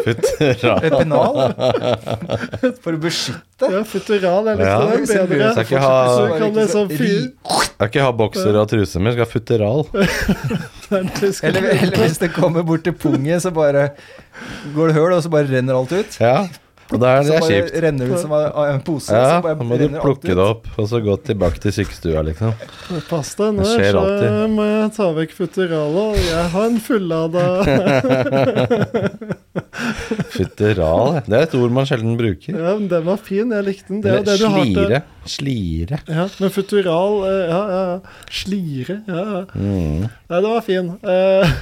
futural.
Et pennal? For å beskytte?
Ja, Futural er
eh, Ja.
liksom
Hvis jeg
bedre.
skal ikke ha-
Så du kan liksom fyre
Skal ikke ha bokser og truser mer, skal ha futural.
Eller, eller hvis det kommer bort til pungen, så bare går det høl, og så bare renner alt ut.
Ja, og det er, det
Så
er kjipt.
bare renner det ut som av av en pose.
Ja,
så bare
da må du
renner alt
plukke
ut.
det opp, og så gå tilbake til sykestua, liksom.
Pass deg nå,
Det skjer
så
alltid.
må jeg ta vekk Futuralet. og Jeg har en fullada
Futteral, det er et ord man sjelden bruker.
Ja, men den var fin. Jeg likte den. Det er jo det
Eller
du har til
slire. Slire.
Ja, men Futural eh, Ja, ja. ja. Slire. Ja, ja.
Mm.
Nei, den var fin. Eh,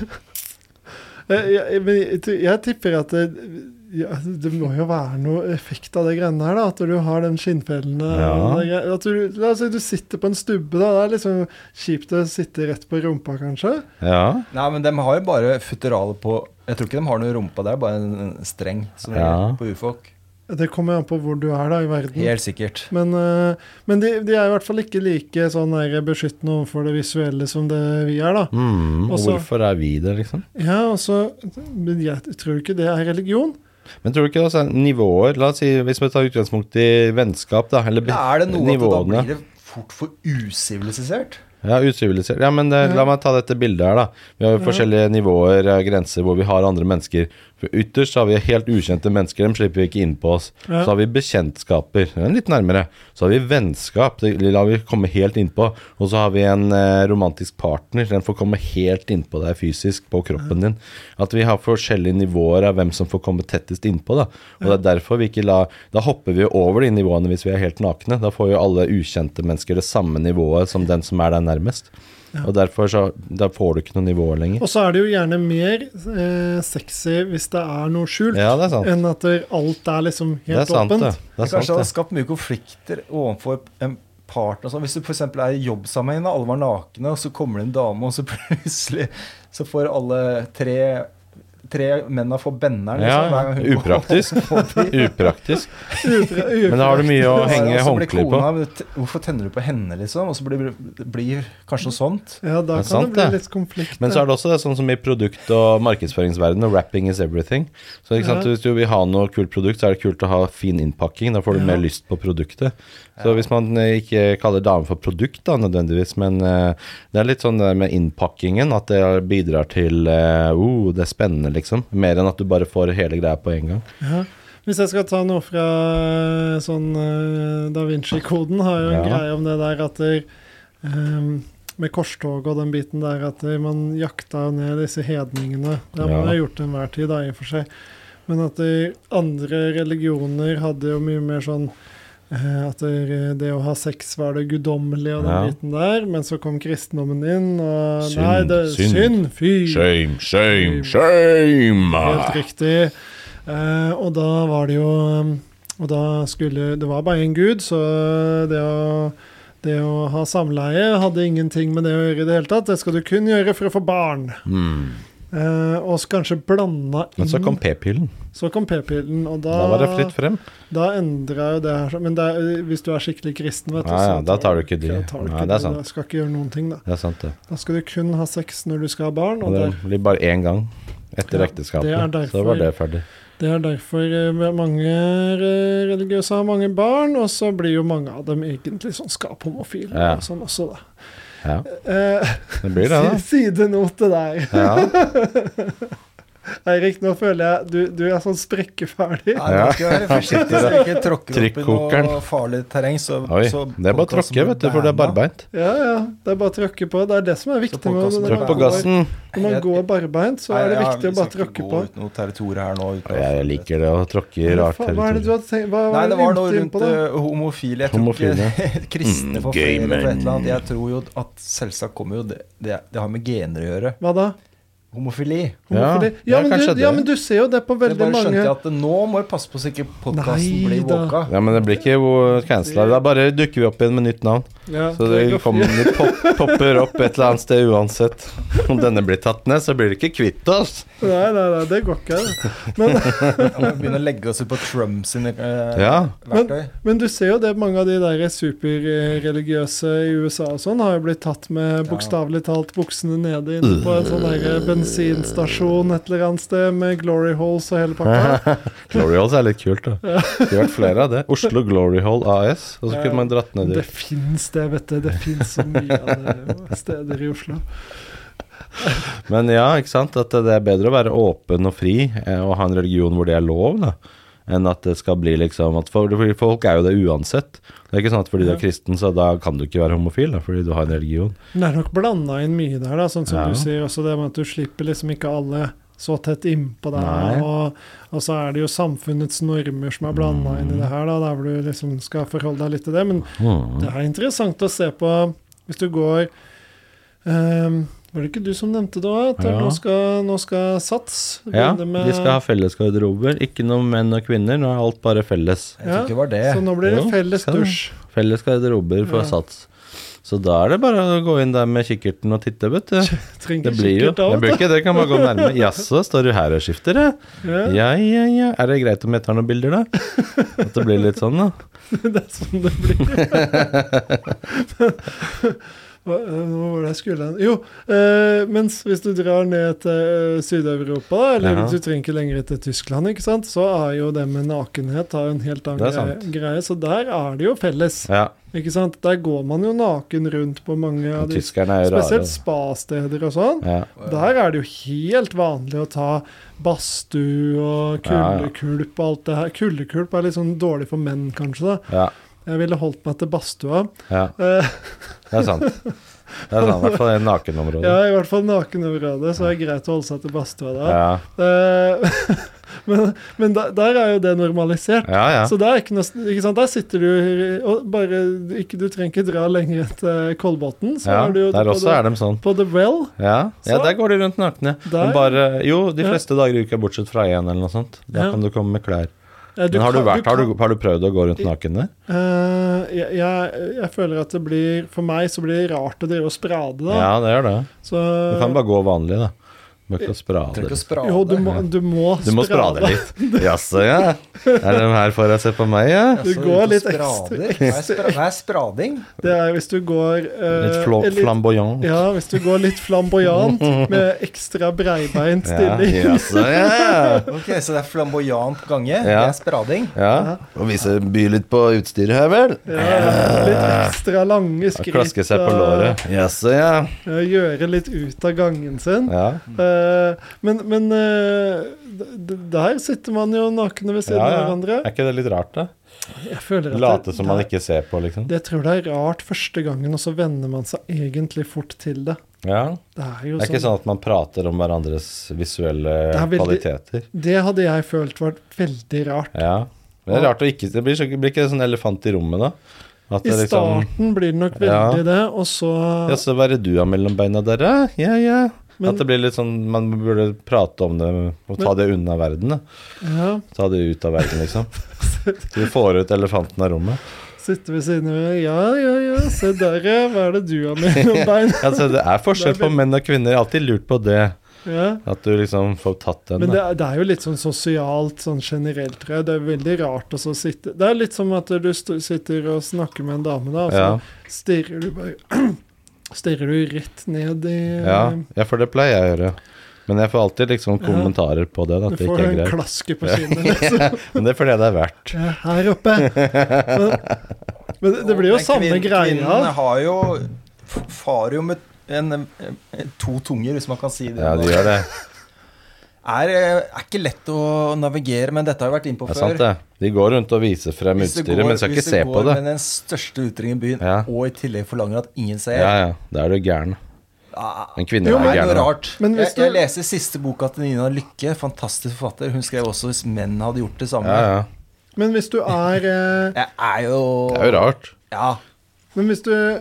eh, jeg, men jeg, tror- jeg tipper at det, ja, det må jo være noe effekt av det greiene her, da. At du har den skinnfellene
Ja.
og det greiene- at du, La oss si du sitter på en stubbe, da. Det er liksom kjipt å sitte rett på rumpa, kanskje.
Ja.
Nei, men de har jo bare futuralet på Jeg tror ikke de har noe rumpa der, bare en en streng som
Ja.
ligger på urfolk.
Det kommer an på hvor du er da i verden.
Helt sikkert.
Men, eh, men de, de er i hvert fall ikke like sånn der beskyttende overfor det visuelle som det vi er, da.
Mm, og
Også-
hvorfor er vi det, liksom?
Ja, og så Men jeg tror ikke det er religion.
Men tror du ikke det er nivåer La oss si, hvis vi tar utgangspunkt i vennskap, da. Eller
Ja, er det noe at da
nivåene.
blir det fort for usivilisert?
Ja, usivilisert. Ja, men eh, la meg ta dette bildet her, da. Vi har jo forskjellige nivåer, eh, grenser, hvor vi har andre mennesker. For ytterst har vi helt ukjente mennesker, dem slipper vi ikke inn på oss.
Ja.
Så har vi bekjentskaper, det er litt nærmere. Så har vi vennskap, det lar vi komme helt innpå. Og så har vi en eh, romantisk partner, den får komme helt innpå deg fysisk, på kroppen din. At vi har forskjellige nivåer av hvem som får komme tettest innpå, da. Og det er derfor vi ikke la Da hopper vi jo over de nivåene hvis vi er helt nakne. Da får jo alle ukjente mennesker det samme nivået som den som er deg nærmest. Og derfor så Da får du ikke noe nivå lenger.
Og så er det jo gjerne mer eh, sexy hvis det er noe skjult,
Ja, det er sant.
enn at det- alt er liksom
Det er
helt
sant, det.
åpent.
det, er
Kanskje det
sant,
hadde
det.
skapt mye konflikter overfor en partner. og sånn. Hvis du f.eks. er i jobbsammenheng, da, alle var nakne, og så kommer det en dame, og så plutselig så får alle tre Tre mennene får benneren.
Ja,
liksom, hver gang hun går
upraktisk.
forbi.
Upraktisk.
Upra- upra-
Men da har du mye å
Ja,
henge
og så blir
håndkle på.
kona, men t- Hvorfor tenner du på henne, liksom? Og så blir det blir kanskje noe sånt.
Ja, da
Det er
kan
sant,
det bli
det.
litt konflikt.
Men så er det også det, sånn som i produkt- og markedsføringsverdenen, wrapping is everything. Så ikke sant,
Ja.
Hvis du vil ha noe kult produkt, så er det kult å ha fin innpakking. Da får du
Ja.
mer lyst på produktet. Så hvis man eh, ikke kaller damer for produkt, da nødvendigvis, men eh, det er litt sånn det med innpakkingen, at det bidrar til eh, oh, det er spennende, liksom. Mer enn at du bare får hele greia på en gang.
Ja. Hvis jeg skal ta noe fra eh, sånn eh, Da Vinci-koden, har jo en
Ja.
greie om det der at der, ehm, med korstoget og den biten der at eh, man jakta ned disse hedningene. Det har man
Ja.
jo gjort til enhver tid, da, i og for seg. Men at eh, andre religioner hadde jo mye mer sånn eh, at det, det å ha sex var det guddommelige og den
Ja.
biten der, men så kom kristendommen inn, og
Synd,
Nei, det er
synd.
synd! Fy!
Shame, shame, shame! Ah,
Helt riktig. Eh, og da var det jo um, Og da skulle Det var bare én gud, så det å, det å ha samleie hadde ingenting med det å gjøre i det hele tatt. Det skal du kun gjøre for å få barn.
Mm.
Eh, og så kanskje blanda inn
Men så kom p-pillen.
så kom p-pillen, og da,
Da var det fritt frem.
da endra jo det her seg. Men det er, hvis du er skikkelig kristen, vet du,
Ja, ja, da tar du ikke de.
da tar du
Nei,
ikke
det er
de.
sant.
Da skal ikke gjøre noen ting, da.
Det er sant, det.
Da skal du kun ha sex når du skal ha barn,
Og
og
det
der
blir bare én gang etter
Ja,
ekteskapet.
det er
Så
derfor-
var det ferdig.
Det er derfor eh, mange eh, religiøse har mange barn, og så blir jo mange av dem egentlig sånn skaphomofile
Ja.
og sånn også, da.
Ja,
Eh,
det blir det, da.
si- Sidenote der.
Ja,
Eirik, nå føler jeg du, du er sånn sprekkeferdig.
Nei, man skal være forsiktig så jeg ikke tråkker opp i
Trikkokeren.
noe farlig terreng. Så,
Oi.
så
Det er bare å tråkke, vet du, for det er barbeint.
Ja, ja. Det er bare å tråkke på. Det er det som er viktig. med når
podcasten
Trykk
man
på
går-
gassen.
Når man går barbeint, så er det
Nei, ja,
viktig å bare
vi skal ikke
tråkke
gå
på.
ut noe territorium her nå. ut
Og
av-
jeg liker det å tråkke i rart
Hva er det du
territorium.
hadde tenkt? Hva, hva
Nei,
er
det var noe
du ymte
rundt
på da?
eh, homofile. Jeg tror ikke kristne
Mm,
får flere for et
gay
eller
men.
annet. Jeg tror jo at selvsagt kommer jo det Det, det har med gener å gjøre.
Hva da?
Homofili.
Ja,
Homofili?
ja,
Ja, men
kanskje
du, ja,
det.
men du ser jo det på
Jeg
veldig
bare skjønte
mange
jeg at nå må jeg passe på så ikke podkasten
Nei
blir
da.
våka.
Ja, men det blir ikke cancela. Da bare dukker vi opp igjen med nytt navn.
Ja,
Så det
går
kommer, det pop, popper opp et eller annet sted uansett. Om denne blir tatt ned, så blir det ikke kvitt oss.
fint. Nei, nei, nei, det går ikke. det. Men
Jeg må begynne å legge oss ut på Trump sine eh,
Ja.
verktøy.
Men du ser jo det, mange av de der superreligiøse i USA og sånn har jo blitt tatt med bokstavelig talt buksene nede inne på en sånn der
Mm.
bensinstasjon et eller annet sted med glory holes og hele pakka.
Glory Halls er litt kult, da. Det har vært flere av det. Oslo Glory Hall AS. Og så kunne man dratt ned
Det
dit.
fins det, vet du. Det fins så mye av det steder i Oslo.
Men ja, ikke sant. At det er bedre å være åpen og fri eh, og ha en religion hvor det er lov, da. Enn at det skal bli liksom at for, fordi Folk er jo det uansett. Det er ikke sånn at fordi du er kristen, så da kan du ikke være homofil, da, fordi du har en religion.
Men det er nok blanda inn mye der, da, sånn som
Ja.
du sier også det med at du slipper liksom ikke alle så tett innpå
Nei.
deg. Og, og så er det jo samfunnets normer som er blanda inn i det her, da, der hvor du liksom skal forholde deg litt til det. Men
Mm.
Det er interessant å se på hvis du går ehm, Var det ikke du som nevnte det òg? At
Ja.
nå, skal, nå skal Sats
Ja,
begynne med
de skal ha felles garderober. Ikke noe menn og kvinner, nå er alt bare felles.
Jeg tror ikke det var det.
Så nå blir det
Jo,
felles
skal det.
dusj.
Felles garderober for
Ja.
sats. Så da er det bare å gå inn der med kikkerten og titte, vet du. Det
Trenger
blir jo
kikkert da,
Det
vet
blir ikke det, kan bare gå nærme. Jaså, står du her og skifter, ja?
du. Ja,
Ja, ja, ja. Er det greit om jeg tar noen bilder, da? At det blir litt sånn, da.
Det er sånn det blir. Hva eh, hvor var det jeg skulle hen? Jo, eh, mens hvis du drar ned til eh, Syd-Europa, da, eller
Ja.
du trenger ikke lenger til Tyskland, ikke sant, så er jo det med nakenhet har jo en helt
Det er
annen
sant.
greie, greie. Så der er det jo felles.
Ja.
Ikke sant? Der går man jo naken rundt på mange av de
Tyskerne er jo rare.
Spesielt spa-steder og sånn.
Ja.
Der er det jo helt vanlig å ta badstue og
Ja, ja.
kuldekulp og alt det her. Kuldekulp er litt sånn dårlig for menn, kanskje. da.
ja.
Jeg ville holdt meg til badstua.
Ja,
Eh,
det er sant. Det er sant, I hvert fall i nakenområdet.
ja, i hvert fall nakenområdet, så er det greit å holde seg til badstua da.
Ja,
Eh, men men der, der er jo det normalisert.
ja. ja.
Så det er ikke noe, ikke sant? Der sitter du og bare ikke, Du trenger ikke dra lenger enn til Kolbotn. Så
ja.
er du jo
Der
på
også
det-
er de sånn.
På The Well?
Ja, ja
Så-
der går de rundt nakne.
Der-
Men bare, jo, de
Ja.
fleste dager i uka bortsett fra én eller noe sånt. Da
Ja.
kan du komme med klær.
Ja,
Men har du,
Eh, kan-
vært, har,
kan-
du, har du prøvd å gå rundt naken der?
Eh, jeg, jeg, jeg føler at det blir For meg så blir det rart å drive og sprade, da.
Ja, det gjør det.
Så
Du kan bare gå vanlig, da. Du må ikke sprade.
Trenger ikke å
litt.
sprade.
Jo, du må,
Ja.
du må,
Du må sprade litt. Jaså, ja. Er de her for å se på meg, ja?
Du
Altså,
går
ut og
litt
sprader.
ekstra-
Hva er spra- Hva er sprading?
Det er hvis du går eh,
Litt flo-
litt-
flamboyant.
Ja, hvis du går litt flamboyant med ekstra breibeint
Ja,
stilling.
jaså, ja.
Ok, Så det er flamboyant gange? Det
Ja.
er sprading?
ja. Og vise by litt på utstyret her, vel?
Ja, litt ekstra lange skritt.
Klaske seg på
og,
låret. Jaså, ja.
eh, gjøre litt ut av gangen sin.
ja.
Eh, Eh, men men eh, d- d- der sitter man jo nakne ved siden
Ja,
av
ja. Er
hverandre.
ikke det litt rart, da?
Jeg føler at
Late som man
det-
ikke ser på, liksom.
det, Jeg tror det er rart første gangen, og så venner man seg egentlig fort til det.
Ja.
Det er jo
Det er ikke sånn at man prater om hverandres visuelle
Det er veldig-
kvaliteter.
Det hadde jeg følt var veldig rart.
Ja. Men det er rart å ikke Det blir, så, blir ikke det sånn elefant i rommet, da? At
I
det liksom
starten blir det nok
Ja.
veldig det, og så
Ja, så hva er det du har mellom beina der, da? Ja, ja.
Men-
At det blir litt sånn Man burde prate om det og ta det unna verden, da.
ja,
Ta det ut av verden, liksom. Så du får ut elefanten av rommet.
sitter ved siden av Ja, ja, ja, se der, ja. Hva er det du har mellom beina?
Altså, det er forskjell på menn og kvinner. Jeg har alltid lurt på det.
Ja.
At du liksom får tatt den.
Men det
da.
er, det er jo litt sånn sosialt, sånn generelt, tror jeg. Det er veldig rart å så sitte Det er litt som at du st sitter og snakker med en dame, da, og så
Ja.
stirrer du bare Stirrer du rett ned i
Ja. ja, for det pleier jeg å gjøre. Men jeg får alltid liksom
eh, Ja.
kommentarer på det. da,
Du
At det
får
ikke er
en
greit.
klaske på kinnet. liksom.
Men det er fordi det er verdt.
Ja, Her oppe. Men, men det- det blir jo
Men
samme
kvinn- Kvinnen
greia.
har jo f- Farer jo med en, eh, to tunger, hvis man kan si det.
Ja, de gjør det.
er, eh, er ikke lett å navigere, men dette har jeg vært inne på
Det er sant,
før.
det. De går rundt og viser frem
Hvis du
utstyret,
går-
men skal
hvis
ikke
du
se på
går
det.
med den største utringen i byen,
Ja.
og i tillegg forlanger at ingen ser
Ja, ja. Da er du gæren.
Ah,
En kvinne
Jo,
er
men det er
gæren.
noe
da.
rart.
Men hvis
jeg, jeg
du-
leser siste boka til Nina Lykke, fantastisk forfatter. Hun skrev også 'Hvis menn hadde gjort det samme'.
Ja, ja.
Men hvis du er eh,
Jeg er jo
Det er jo rart.
Ja.
Men hvis du eh,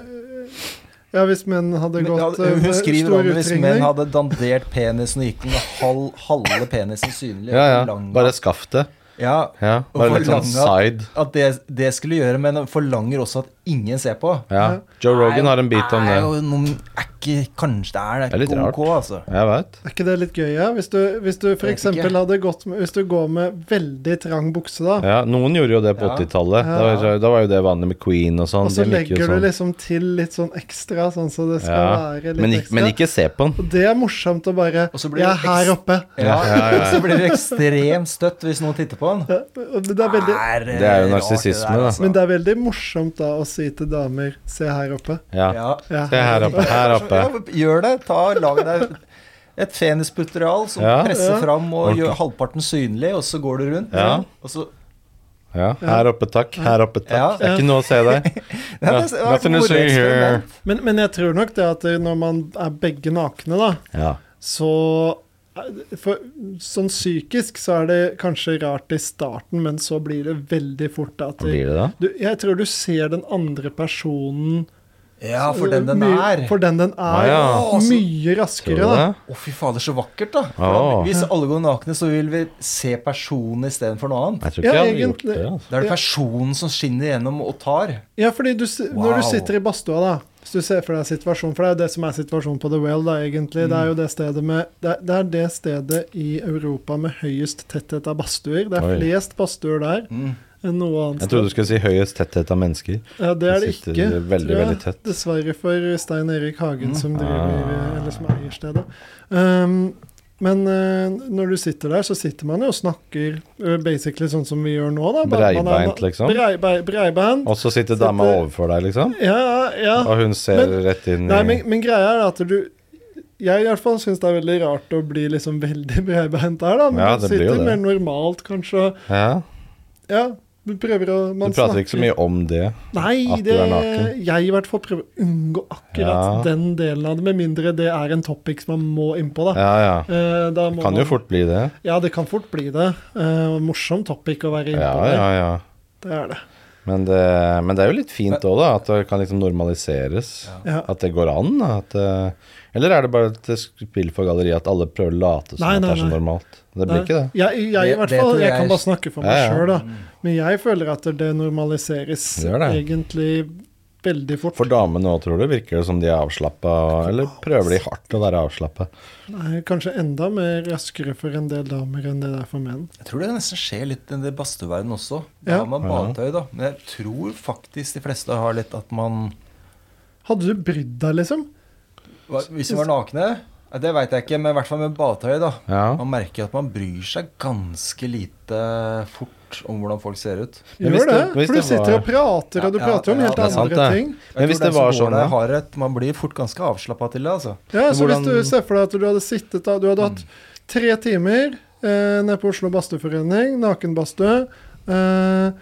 Ja, hvis menn hadde
Men, ja,
gått eh,
hun
med
skriver
stor
om det hvis
utringning.
menn hadde dandert penisen og gikk den med halv, halve penisen synlig.
Ja, ja.
forlanget-
Bare skaff det.
ja,
Ja.
Og
Bare litt sånn
forlange
side.
at det, det skulle gjøre, men den forlanger også at ingen ser på.
Ja. Joe Rogan har en bit om det.
Er jo noen, er ikke, kanskje det er det.
Det er litt
ikke
rart.
ok, altså.
Jeg veit.
Er ikke det litt gøy, ja? Hvis du, hvis du for
Vet ikke.
eksempel hadde gått med, Hvis du går med veldig trang bukse, da,
Ja, noen gjorde jo det på
Ja.
80-tallet. Da,
Ja.
var- da var jo det vanlig med Queen og sånn.
og så
De gikk jo
legger
sånn.
du liksom til litt sånn ekstra, sånn så det skal være litt
men, ikke,
ekstra.
men ikke se på den.
Og det er morsomt å bare
Og så blir
Jeg er
det
her
eks-
oppe.
Ja,
Ja, ja, ja.
Så blir det ekstremt støtt hvis noen titter på den.
Ja, og Det er veldig,
eh,
Det er jo
rart,
narsissisme,
det der,
da.
altså.
men det er veldig morsomt da å si til damer Se her oppe.
Ja.
Ja.
Ja.
Se her oppe. Her oppe.
Ja, gjør det. Ta, lag deg et fenisputerial som
Ja.
presser
Ja.
fram og gjør
Ordentlig.
halvparten synlig, og så går du rundt.
Ja.
Og så,
Ja. Her oppe, takk. Her oppe, takk.
Ja.
Det er ikke noe å se der. Ja.
Ja, det er- det er
Nothing to
et
see here.
moreksperiment.
Men, men jeg tror nok det at det- når man er begge nakne, da,
Ja.
så eh, for, Sånn psykisk så er det kanskje rart i starten, men så blir det veldig fort at
Hva blir det da?
Du, jeg tror du ser den andre personen
ja, for den den
mye,
er.
For den den er.
Å, ja.
Mye
Tror
raskere,
du det?
da.
Å, fy fader, så vakkert, da. For
Åh.
Hvis alle går nakne, så vil vi se personen istedenfor noe annet.
Jeg tror ikke
Ja,
jeg hadde gjort
egentlig.
det. Altså.
Da er det personen som skinner gjennom og tar.
Ja, fordi du, s- når du
Wow.
sitter i badstua, da Hvis du ser for deg situasjonen For det er jo det som er situasjonen på The Well, da, egentlig. Det
Mm.
er jo det stedet med det er, det er det stedet i Europa med høyest tetthet av badstuer. Det er
Oi.
flest badstuer der
Mm.
enn noe annet
Jeg trodde du skulle si høyest tetthet av mennesker.
Ja, det er det
Jeg
ikke.
sitter veldig,
tror jeg.
veldig tett. Mm.
Dessverre for Stein Erik Hagen, som, driver,
Ah.
eller som eier stedet. Um, men eh, når du sitter der, så sitter man jo og snakker eh, basically sånn som vi gjør nå. da. Bare- man er-
Breibeint, liksom?
Breibei- Breibeint.
Og så sitter dama
Sitter-
overfor deg, liksom.
Ja, ja.
Og hun ser
Men-
rett inn
Nei, men,
i
men greia er at du Jeg i hvert fall syns det er veldig rart å bli liksom veldig breibeint der, da. Men
Ja,
man
det blir jo
sitter mer
det.
normalt, kanskje.
ja.
Ja, du prøver å
Du
man
prater ikke så
snakker-
mye om det.
Nei,
At du
det,
er naken.
jeg i hvert fall prøver å unngå akkurat
Ja.
den delen av det, med mindre det er en topic som man må innpå, da.
Ja, ja.
Eh, da må
Det kan jo
man,
fort bli det.
Ja, det kan fort bli det. Eh, og morsom topic å være innpå
Ja,
der.
ja, ja.
Det er det.
Men det, men det er jo litt fint òg, da. At det kan liksom normaliseres.
Ja.
At det går an? da, At, eh, eller er det bare et spill for galleriet at alle prøver å late som
Nei,
at det
nei,
er så
nei.
normalt? Det blir ikke det.
Jeg, jeg, i
Det-
hvert
det
fall,
tror
jeg
jeg-
kan bare snakke for meg
Ja, ja.
sjøl, da. Men jeg føler at det normaliseres
Det gjør det.
egentlig veldig fort.
For damene òg, tror du? Virker det som de er avslappa? Eller prøver de hardt å være avslappa?
Nei, kanskje enda mer raskere for en del damer enn det det er for menn.
Jeg tror det nesten skjer litt i det badstueverdenen også. Da
Ja.
har man badetøy, da. Men jeg tror faktisk de fleste har litt at man
Hadde du brydd deg, liksom?
Hva- Hvis vi var nakne Ja, Det veit jeg ikke, men i hvert fall med badetøyet, da.
Ja.
Man merker at man bryr seg ganske lite fort om hvordan folk ser ut.
Men
Gjør
hvis
det,
det- hvis
for du
det
sitter
var-
og prater, og du
Ja, ja,
prater om
ja,
helt
det er sant,
andre
det.
ting.
Jeg
Men
tror
hvis
den
det
som
var
går
sånn,
der,
da?
har et, Man blir fort ganske avslappa til det, altså.
Ja, så
hvordan- Mm.
hvis du ser for deg at du hadde sittet da, du hadde hatt tre timer eh, nede på Oslo Badstueforening, nakenbadstue, eh,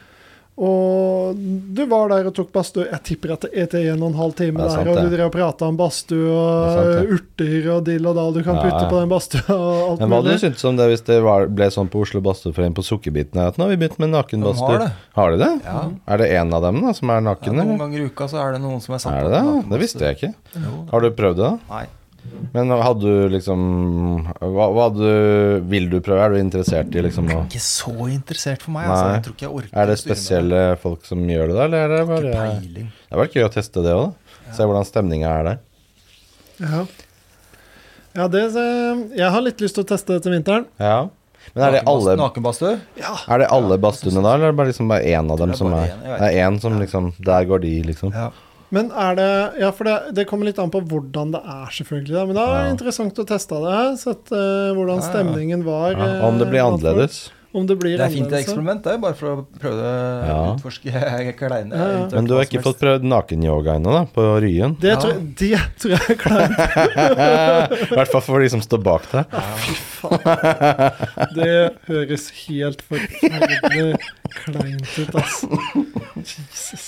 og du var der og tok badstue Jeg tipper at det er til en og en halv time
Ja, det er
der,
sant,
og
det.
du drev og prata om badstue og
Det er sant,
eh, urter og dill og dall du kan
Ja,
putte
ja.
på den badstua og alt
Men hva hadde
mulig.
du syntes om det hvis det var, ble sånn på Oslo Badstueforening på Sukkerbitene? At nå har vi begynt med
De har
nakenbadstue.
det.
Har de det?
Ja.
Er det én av dem da som er
Ja,
naken,
noen
eller?
ganger i uka så er det noen som er satt
Er det
opp
det?
i
Det
nakenmasse.
visste jeg ikke.
Jo.
Har du prøvd det, da?
Nei.
Men hadde du liksom Hva, hva hadde du, vil du prøve? Er du interessert i liksom å
Ikke så interessert for meg,
Nei.
altså. Jeg tror ikke jeg orker
Er det
å styre med
spesielle folk som gjør det, da? Eller er det
Ikke
bare Det
peiling.
hadde vært gøy å teste det òg, da. Se hvordan stemninga er der.
Ja. Ja, det, eh, jeg har litt lyst til å teste det til vinteren.
Ja. Men er det alle,
Nakenbadstue?
er det alle badstuene da, eller er det bare liksom bare én av dem
Det er
som er
bare en, jeg vet
Det er én som liksom Der går de, liksom.
Ja.
Men er det Ja, for det, det kommer litt an på hvordan det er, selvfølgelig. Da. Men det er
Ja.
interessant å teste det. Sett eh, hvordan
Ja, ja.
stemningen var.
Ja. Og om det blir
eh, blant folk.
annerledes.
Om det blir
Det er fint
annerledes, ja.
eksperiment, det. er Bare for å prøve å
Ja.
utforske kleine
Ja, ja.
Men du har ikke fått prøvd nakenyoga ennå, da, på Ryen?
Det tror, jeg- det tror jeg er kleint.
Eh, I hvert fall for de som står bak deg.
Det høres helt forferdelig kleint ut, ass. Jesus.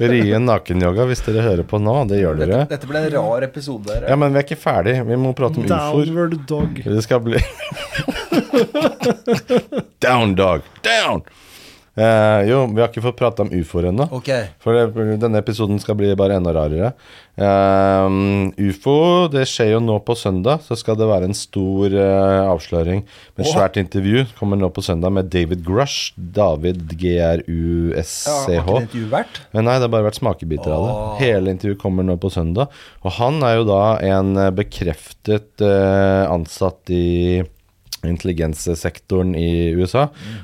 Ryen nakenyoga, hvis dere hører på nå, det gjør dere.
Dette, dette ble en rar episode. dere.
Ja, men vi er ikke ferdig. Vi må prate om ufoer.
Downward dog.
Det skal bli Down, dog! Down! Eh, jo, vi har ikke fått prate om ufoer ennå.
Ok.
For det, denne episoden skal bli bare enda rarere. Ehm, Ufo, det skjer jo nå på søndag. Så skal det være en stor eh, avsløring med et
Åh.
svært intervju. Kommer nå på søndag med David Grush. David
Ja, har ikke
G-R-U-S-C-H.
det intervjuet vært?
Men nei, det har bare vært smakebiter av det.
Åh.
Hele intervjuet kommer nå på søndag. Og han er jo da en eh, bekreftet eh, ansatt i intelligenssektoren i USA.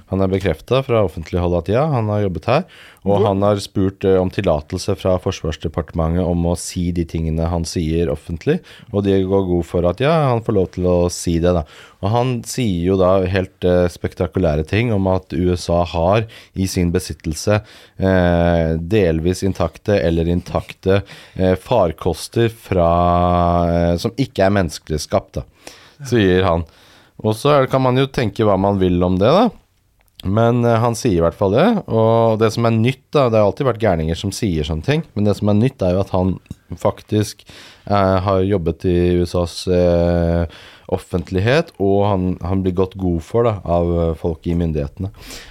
Han er bekrefta fra offentlig hold at ja, han har jobbet her. Og han har spurt eh, om tillatelse fra Forsvarsdepartementet om å si de tingene han sier offentlig, og de går god for at ja, han får lov til å si det, da. Og han sier jo da helt eh, spektakulære ting om at USA har i sin besittelse eh, delvis intakte eller intakte eh, farkoster fra eh, som ikke er menneskelig skapt, da, sier han. Og så er det- kan man jo tenke hva man vil om det, da. Men eh, han sier i hvert fall det. Og det som er nytt, da Det har alltid vært gærninger som sier sånne ting, men det som er nytt, er jo at han faktisk eh, har jobbet i USAs eh, offentlighet, og han, han blir godt god for da, av eh, folk i myndighetene.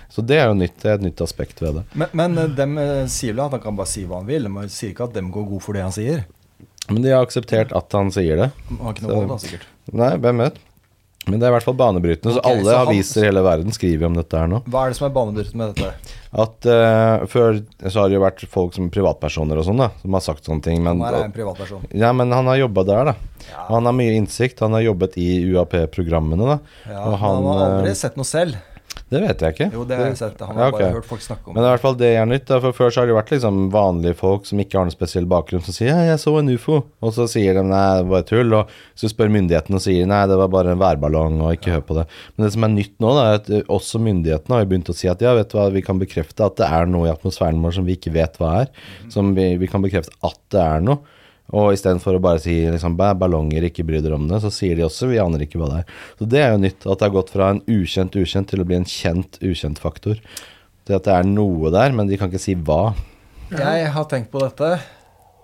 Så det er jo nytt, det er et nytt aspekt ved det.
Men, men eh, dem eh, sier vel at han kan bare si hva han vil. Man sier ikke at dem går god for det han sier.
Men de har akseptert at han sier det.
Han har ikke noe
Så-
valg, da, sikkert.
Nei, hvem vet? Men det er i hvert fall banebrytende,
Ok,
så alle
så han-
aviser i hele verden skriver jo om dette her nå.
Hva er det som er banebrytende med dette?
At eh, Før så har det jo vært folk som privatpersoner og sånn, da, som har sagt sånne ting. Men,
Han her er en privatperson.
Ja, men han har jobba der, da. Og han har mye innsikt. Han har jobbet i UAP-programmene, da.
Ja,
og
men han har aldri
eh,
sett noe selv.
Det vet jeg ikke.
Jo, det har jeg sett. Han
Ja,
har bare
ok.
hørt folk snakke om
Men i hvert fall det er nytt. Da, for Før så har det vært liksom vanlige folk som ikke har noen spesiell bakgrunn, som sier 'ja, jeg så en ufo', og så sier de 'nei, det var tull', og så spør myndighetene og sier 'nei, det var bare en værballong', og ikke hør på det. Men det som er nytt nå, da, er at eh, også myndighetene har jo begynt å si at ja, vet du hva, vi kan bekrefte at det er noe i atmosfæren vår som vi ikke vet hva er. Som vi, vi kan bekrefte at det er noe. Og istedenfor å bare si liksom, «Bæ, ballonger, ikke bry dere om det, så sier de også vi aner ikke hva det er. Så det er jo nytt, at det har gått fra en ukjent ukjent til å bli en kjent ukjent faktor. Det at det er noe der, men de kan ikke si hva.
Jeg har tenkt på dette,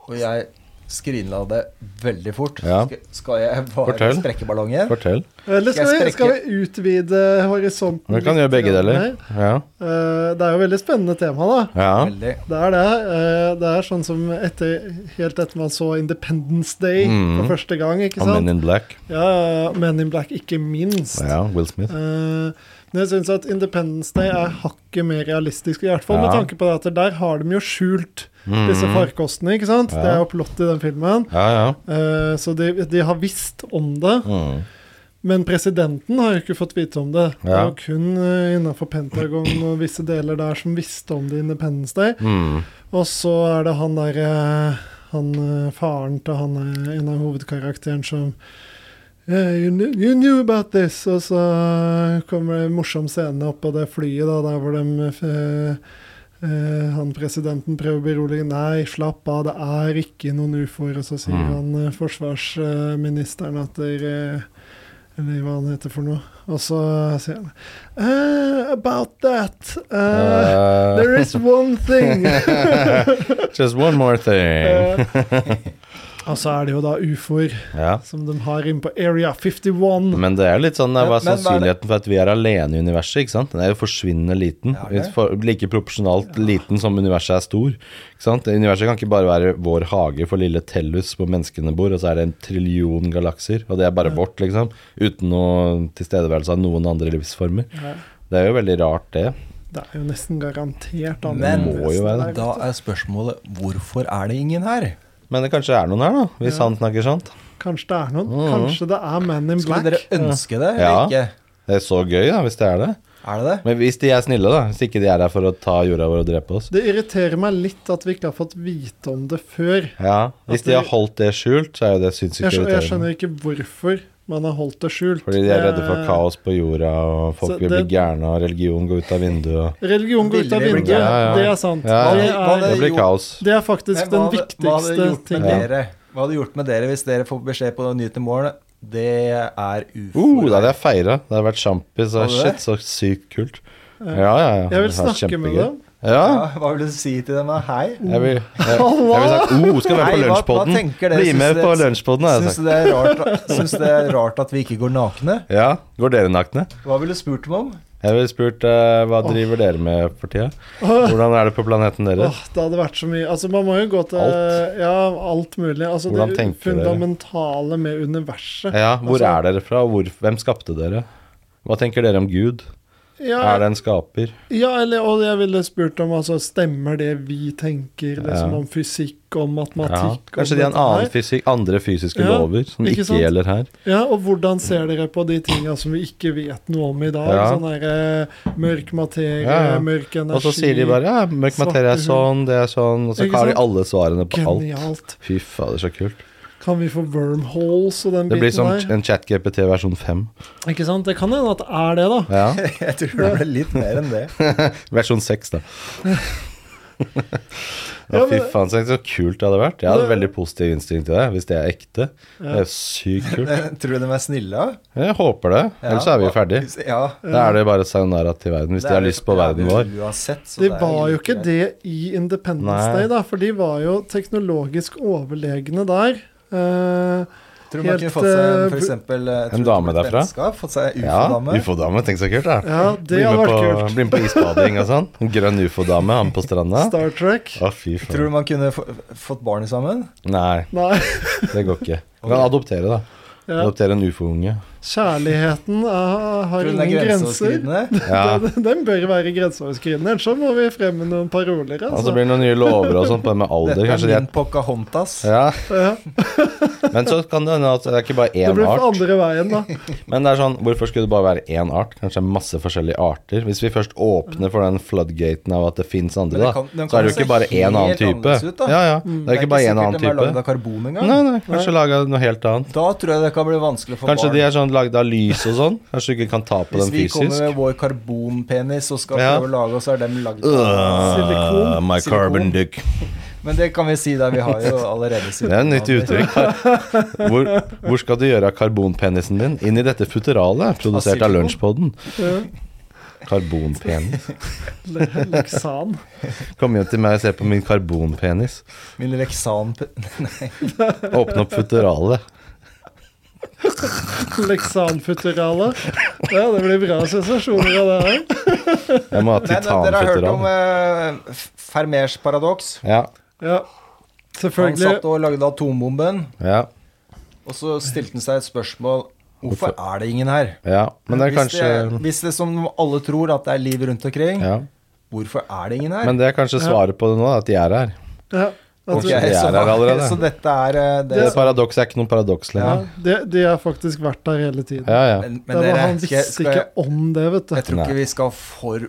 og jeg skrinla det veldig fort.
Ja.
Sk- Skal jeg bare
Fortell.
sprekke ballongen?
Fortell.
Eller
Skal
skal
jeg
vi,
sprekke-
skal vi utvide horisonten?
Vi kan
litt
gjøre begge
grann
deler.
her?
Ja.
Eh, Det er jo veldig spennende tema, da.
ja.
Veldig.
Det er det. Eh, Det er sånn som etter, helt etter man så Independence Day
Mm.
for første gang. ikke
Og Men
sant?
in Black.
Ja, Men in Black, ikke minst.
Ja, Will Smith.
Eh, Men jeg syns at Independence Day er hakket mer realistisk, i hvert fall med
Ja.
tanke på det at der har de jo skjult
Mm.
disse farkostene, ikke sant?
Ja.
Det er jo plott i den filmen.
Ja, ja.
Eh, Så de, de har visst om det.
Mm.
Men presidenten har jo ikke fått vite om det. Det
Ja.
var kun innafor Pentagon og visse deler der som visste om det i Independence Day.
Mm.
Og så er det han derre han eh, faren til han eh, en av hovedkarakteren som «Yeah, you, knew, you knew about this! Og så eh, kommer det en morsom scene opp på det flyet, da, der hvor de eh, eh, han presidenten prøver å berolige Nei, slapp av, det er ikke noen ufoer. Og så sier
Mm.
han eh, forsvarsministeren at dere Eller hva han heter for noe. Og så sier han eh, About that eh,
Eh,
There is one thing.
Just one more thing.
Eh, og så er det jo da ufoer
Ja.
som de har inne på Area 51.
Men det er jo litt sånn
Men-
Hva er
men hva er det-
sannsynligheten for at vi er alene i universet? ikke sant? Den er jo forsvinnende liten.
Ja, det.
For, like proporsjonalt liten som universet er stor. ikke sant? Universet kan ikke bare være vår hage for lille Tellus hvor menneskene bor, og så er det en trillion galakser, og det er bare vårt, liksom. Uten noe tilstedeværelse av noen andre livsformer.
Ja,
Det er jo veldig rart, det.
Det er jo nesten garantert
Men-
andre
Må jo være
vesener der,
Da
vet
er spørsmålet hvorfor er det ingen her?
Men det kanskje er noen her, da. Hvis
Ja.
han snakker sant.
du. Kanskje det er noen.
Mhm.
Kanskje det er Man in
Skulle
Black.
dere ønske det, eller
Ja.
ikke?
Det er så gøy, da, hvis det er det.
Er det det?
Men hvis de er snille, da. Hvis ikke de er her for å ta jorda vår og drepe oss.
Det irriterer meg litt at vi ikke har fått vite om det før.
Ja, Hvis
At
de har
de-
holdt det skjult, så er jo det sinnssykt
Jeg, skjø- jeg
irriterende.
skjønner ikke hvorfor man har holdt det skjult.
Fordi de er redde for
Eh,
kaos på jorda, og folk
Så
vil bli
det-
gærne, og religion går ut av vinduet.
Religion går ut av
Ville vi bli
vinduet,
Ja, ja.
det er sant.
Ja,
Det,
ja. Hva
er,
Det
det
blir
jo-
kaos.
det er faktisk
Men
den
hva hadde- hva hadde
viktigste
gjort med
tingen.
Dere? Hva hadde gjort med dere hvis dere får beskjed på nytt i morgen? Det er ufo.
Uh, da hadde jeg feira. Det hadde vært sjampis. og
Hadde
Shit,
det?
så sykt kult.
Ja.
Ja, ja, ja.
Jeg vil
Det var
snakke med
kjempegøy.
dem.
Ja.
ja, Hva vil du si til dem? da?
Jeg
Hei?
vil, jeg, jeg vil sagt, oh, skal være på
Hei, hva- hva
lunsjpodden.
tenker dere?
Bli
Syns
med på altså.
dere-
lunsjpodden, har jeg
Syns
sagt.
du det, er rart- syns du det er rart at vi ikke går nakne?
Ja, går dere nakne?
Hva ville du spurt dem om?
Jeg ville spurt eh, hva driver dere med for tida?
Åh,
Hvordan er det på planeten deres?
åh, det hadde vært så mye. Altså, man må jo gå til
Alt.
Ja, alt mulig. Altså,
Hvordan
det
tenker dere?
fundamentale med universet.
Ja, hvor
altså-
er dere fra? og Hvor, hvem skapte dere? Hva tenker dere om Gud?
Ja,
Er det en skaper?
ja eller, og jeg ville spurt om altså, Stemmer det vi tenker, liksom,
Ja.
om fysikk, om
Ja.
matematikk om
Kanskje de har en
dette her?
annen fysi- andre fysiske
Ja,
lover som
ikke
ikke,
sant?
gjelder her.
Ja, og hvordan ser dere på de tinga som vi ikke vet noe om i dag?
Ja.
Sånn derre mørk materie,
Ja, ja.
mørk energi
Og så sier de bare ja, mørk
svarte
materie er
hull.
sånn, det er sånn, og så
Ikke
har de
sant?
alle svarene på alt.
Genialt.
Fy fader, så kult.
Kan vi få wormholes og den
Det blir
biten
som
der?
en ChatGPT versjon 5.
Ikke sant? Det kan hende at det er det, da.
Ja.
Jeg tror det ble litt mer enn det.
Versjon 6, da.
Ja,
Ja, fy
men-
faen, så så kult det hadde vært. Jeg hadde
Men-
veldig positiv innstilling til det, hvis det er ekte. Det
Ja.
er sykt kult.
Tror du de er snille? da?
Jeg håper det,
Ja.
ellers er vi jo ferdig.
Ja.
Da er det bare sayonara til verden, hvis de har lyst på verden vår.
Uansett, så
De
det er
var jo
like
ikke
greit.
det i Independence
Nei.
Day, da, for de var jo teknologisk overlegne der. Eh,
Tror du man kunne
Helt,
fått seg
eh,
for eksempel, eh, tror du
dame
et
derfra?
menneske har Fått seg
Ja,
ufo-dame?
ufo-dame, tenk så kult, da.
ja, det
bli,
hadde
med
vært
på,
kult.
bli med på isbading og sånn. En grønn ufo-dame, han på stranda.
Star Trek.
Å, fy
Tror du
faen.
man kunne få- fått barn sammen?
Nei,
Nei.
det går ikke. Du kan adoptere, da.
Ja.
Adoptere en ufo-unge.
Kjærligheten er, har
Tror du den
ingen
er
grenser.
grenseoverskridende?
Ja.
Den, den bør være grenseoverskridende, ellers så må vi fremme noen paroler.
Og så
Altså.
blir det noen nye lover og sånn på det med alder,
Dette er
kanskje.
min
det
Pocahontas.
er- Ja.
Ja,
Men så kan det hende at det er ikke bare
det
én
blir for
art.
andre veien, da.
Men det er sånn, hvorfor skulle det bare være én art? Kanskje masse forskjellige arter? Hvis vi først åpner for den floodgaten av at det fins andre,
Men det
da,
kan-
så er
den
det
kan
jo ikke
se
bare én
helt
annen type.
annerledes ut, da.
Ja,
Mm.
ja. Det er ikke bare én annen
sikkert de er lagd
type.
av karbon engang.
Nei, nei, kanskje laga noe helt annet.
Da tror jeg det kan bli vanskelig for
Kanskje
barn.
de er sånn lagd av lys og sånn? Kanskje du ikke kan ta på
Hvis
dem
vi kommer
fysisk?
med vår karbonpenis og skal
Ja.
prøve å lage oss, er dem lagd
Øh,
Silikon.
my
Silikon.
carbon dick.
Men det kan vi si der, vi har jo allerede
Det er et nytt uttrykk. Hvor, hvor skal du gjøre av karbonpenisen din? Inn i dette futteralet, produsert av
silikon.
Lunsjpodden.
Ja.
Karbonpenis.
Le- Leksan.
Kom hjem til meg og se på min karbonpenis.
Min leksan...
Åpne opp futteralet.
Leksanfutterale. Ja, det blir bra sensasjoner av det her.
Jeg må ha
Men eh, dere har hørt om
titanfutteral.
eh, F- Fermers paradoks?
Ja,
Ja.
Han satt
Selvfølgelig.
og lagde atombomben,
ja,
og så stilte han seg et spørsmål Hvorfor
Hvorfor?
er det ingen her?
ja. Men det er
hvis,
kanskje
det, hvis det som alle tror at det er liv rundt omkring,
ja.
hvorfor er det ingen her?
Men det er kanskje
Ja.
svaret på det nå, at de er her.
Ja. At
Ok,
du-
de er
så,
her allerede.
så dette er eh, det,
Det paradokset er ikke noe paradoks
ja,
lenger.
de, de har faktisk vært der hele tiden.
Ja, ja.
Men,
Det
men
var
dere,
han
skal jeg-
visste
skal jeg-
ikke om det, vet
Jeg
du.
tror
Nei.
ikke vi skal for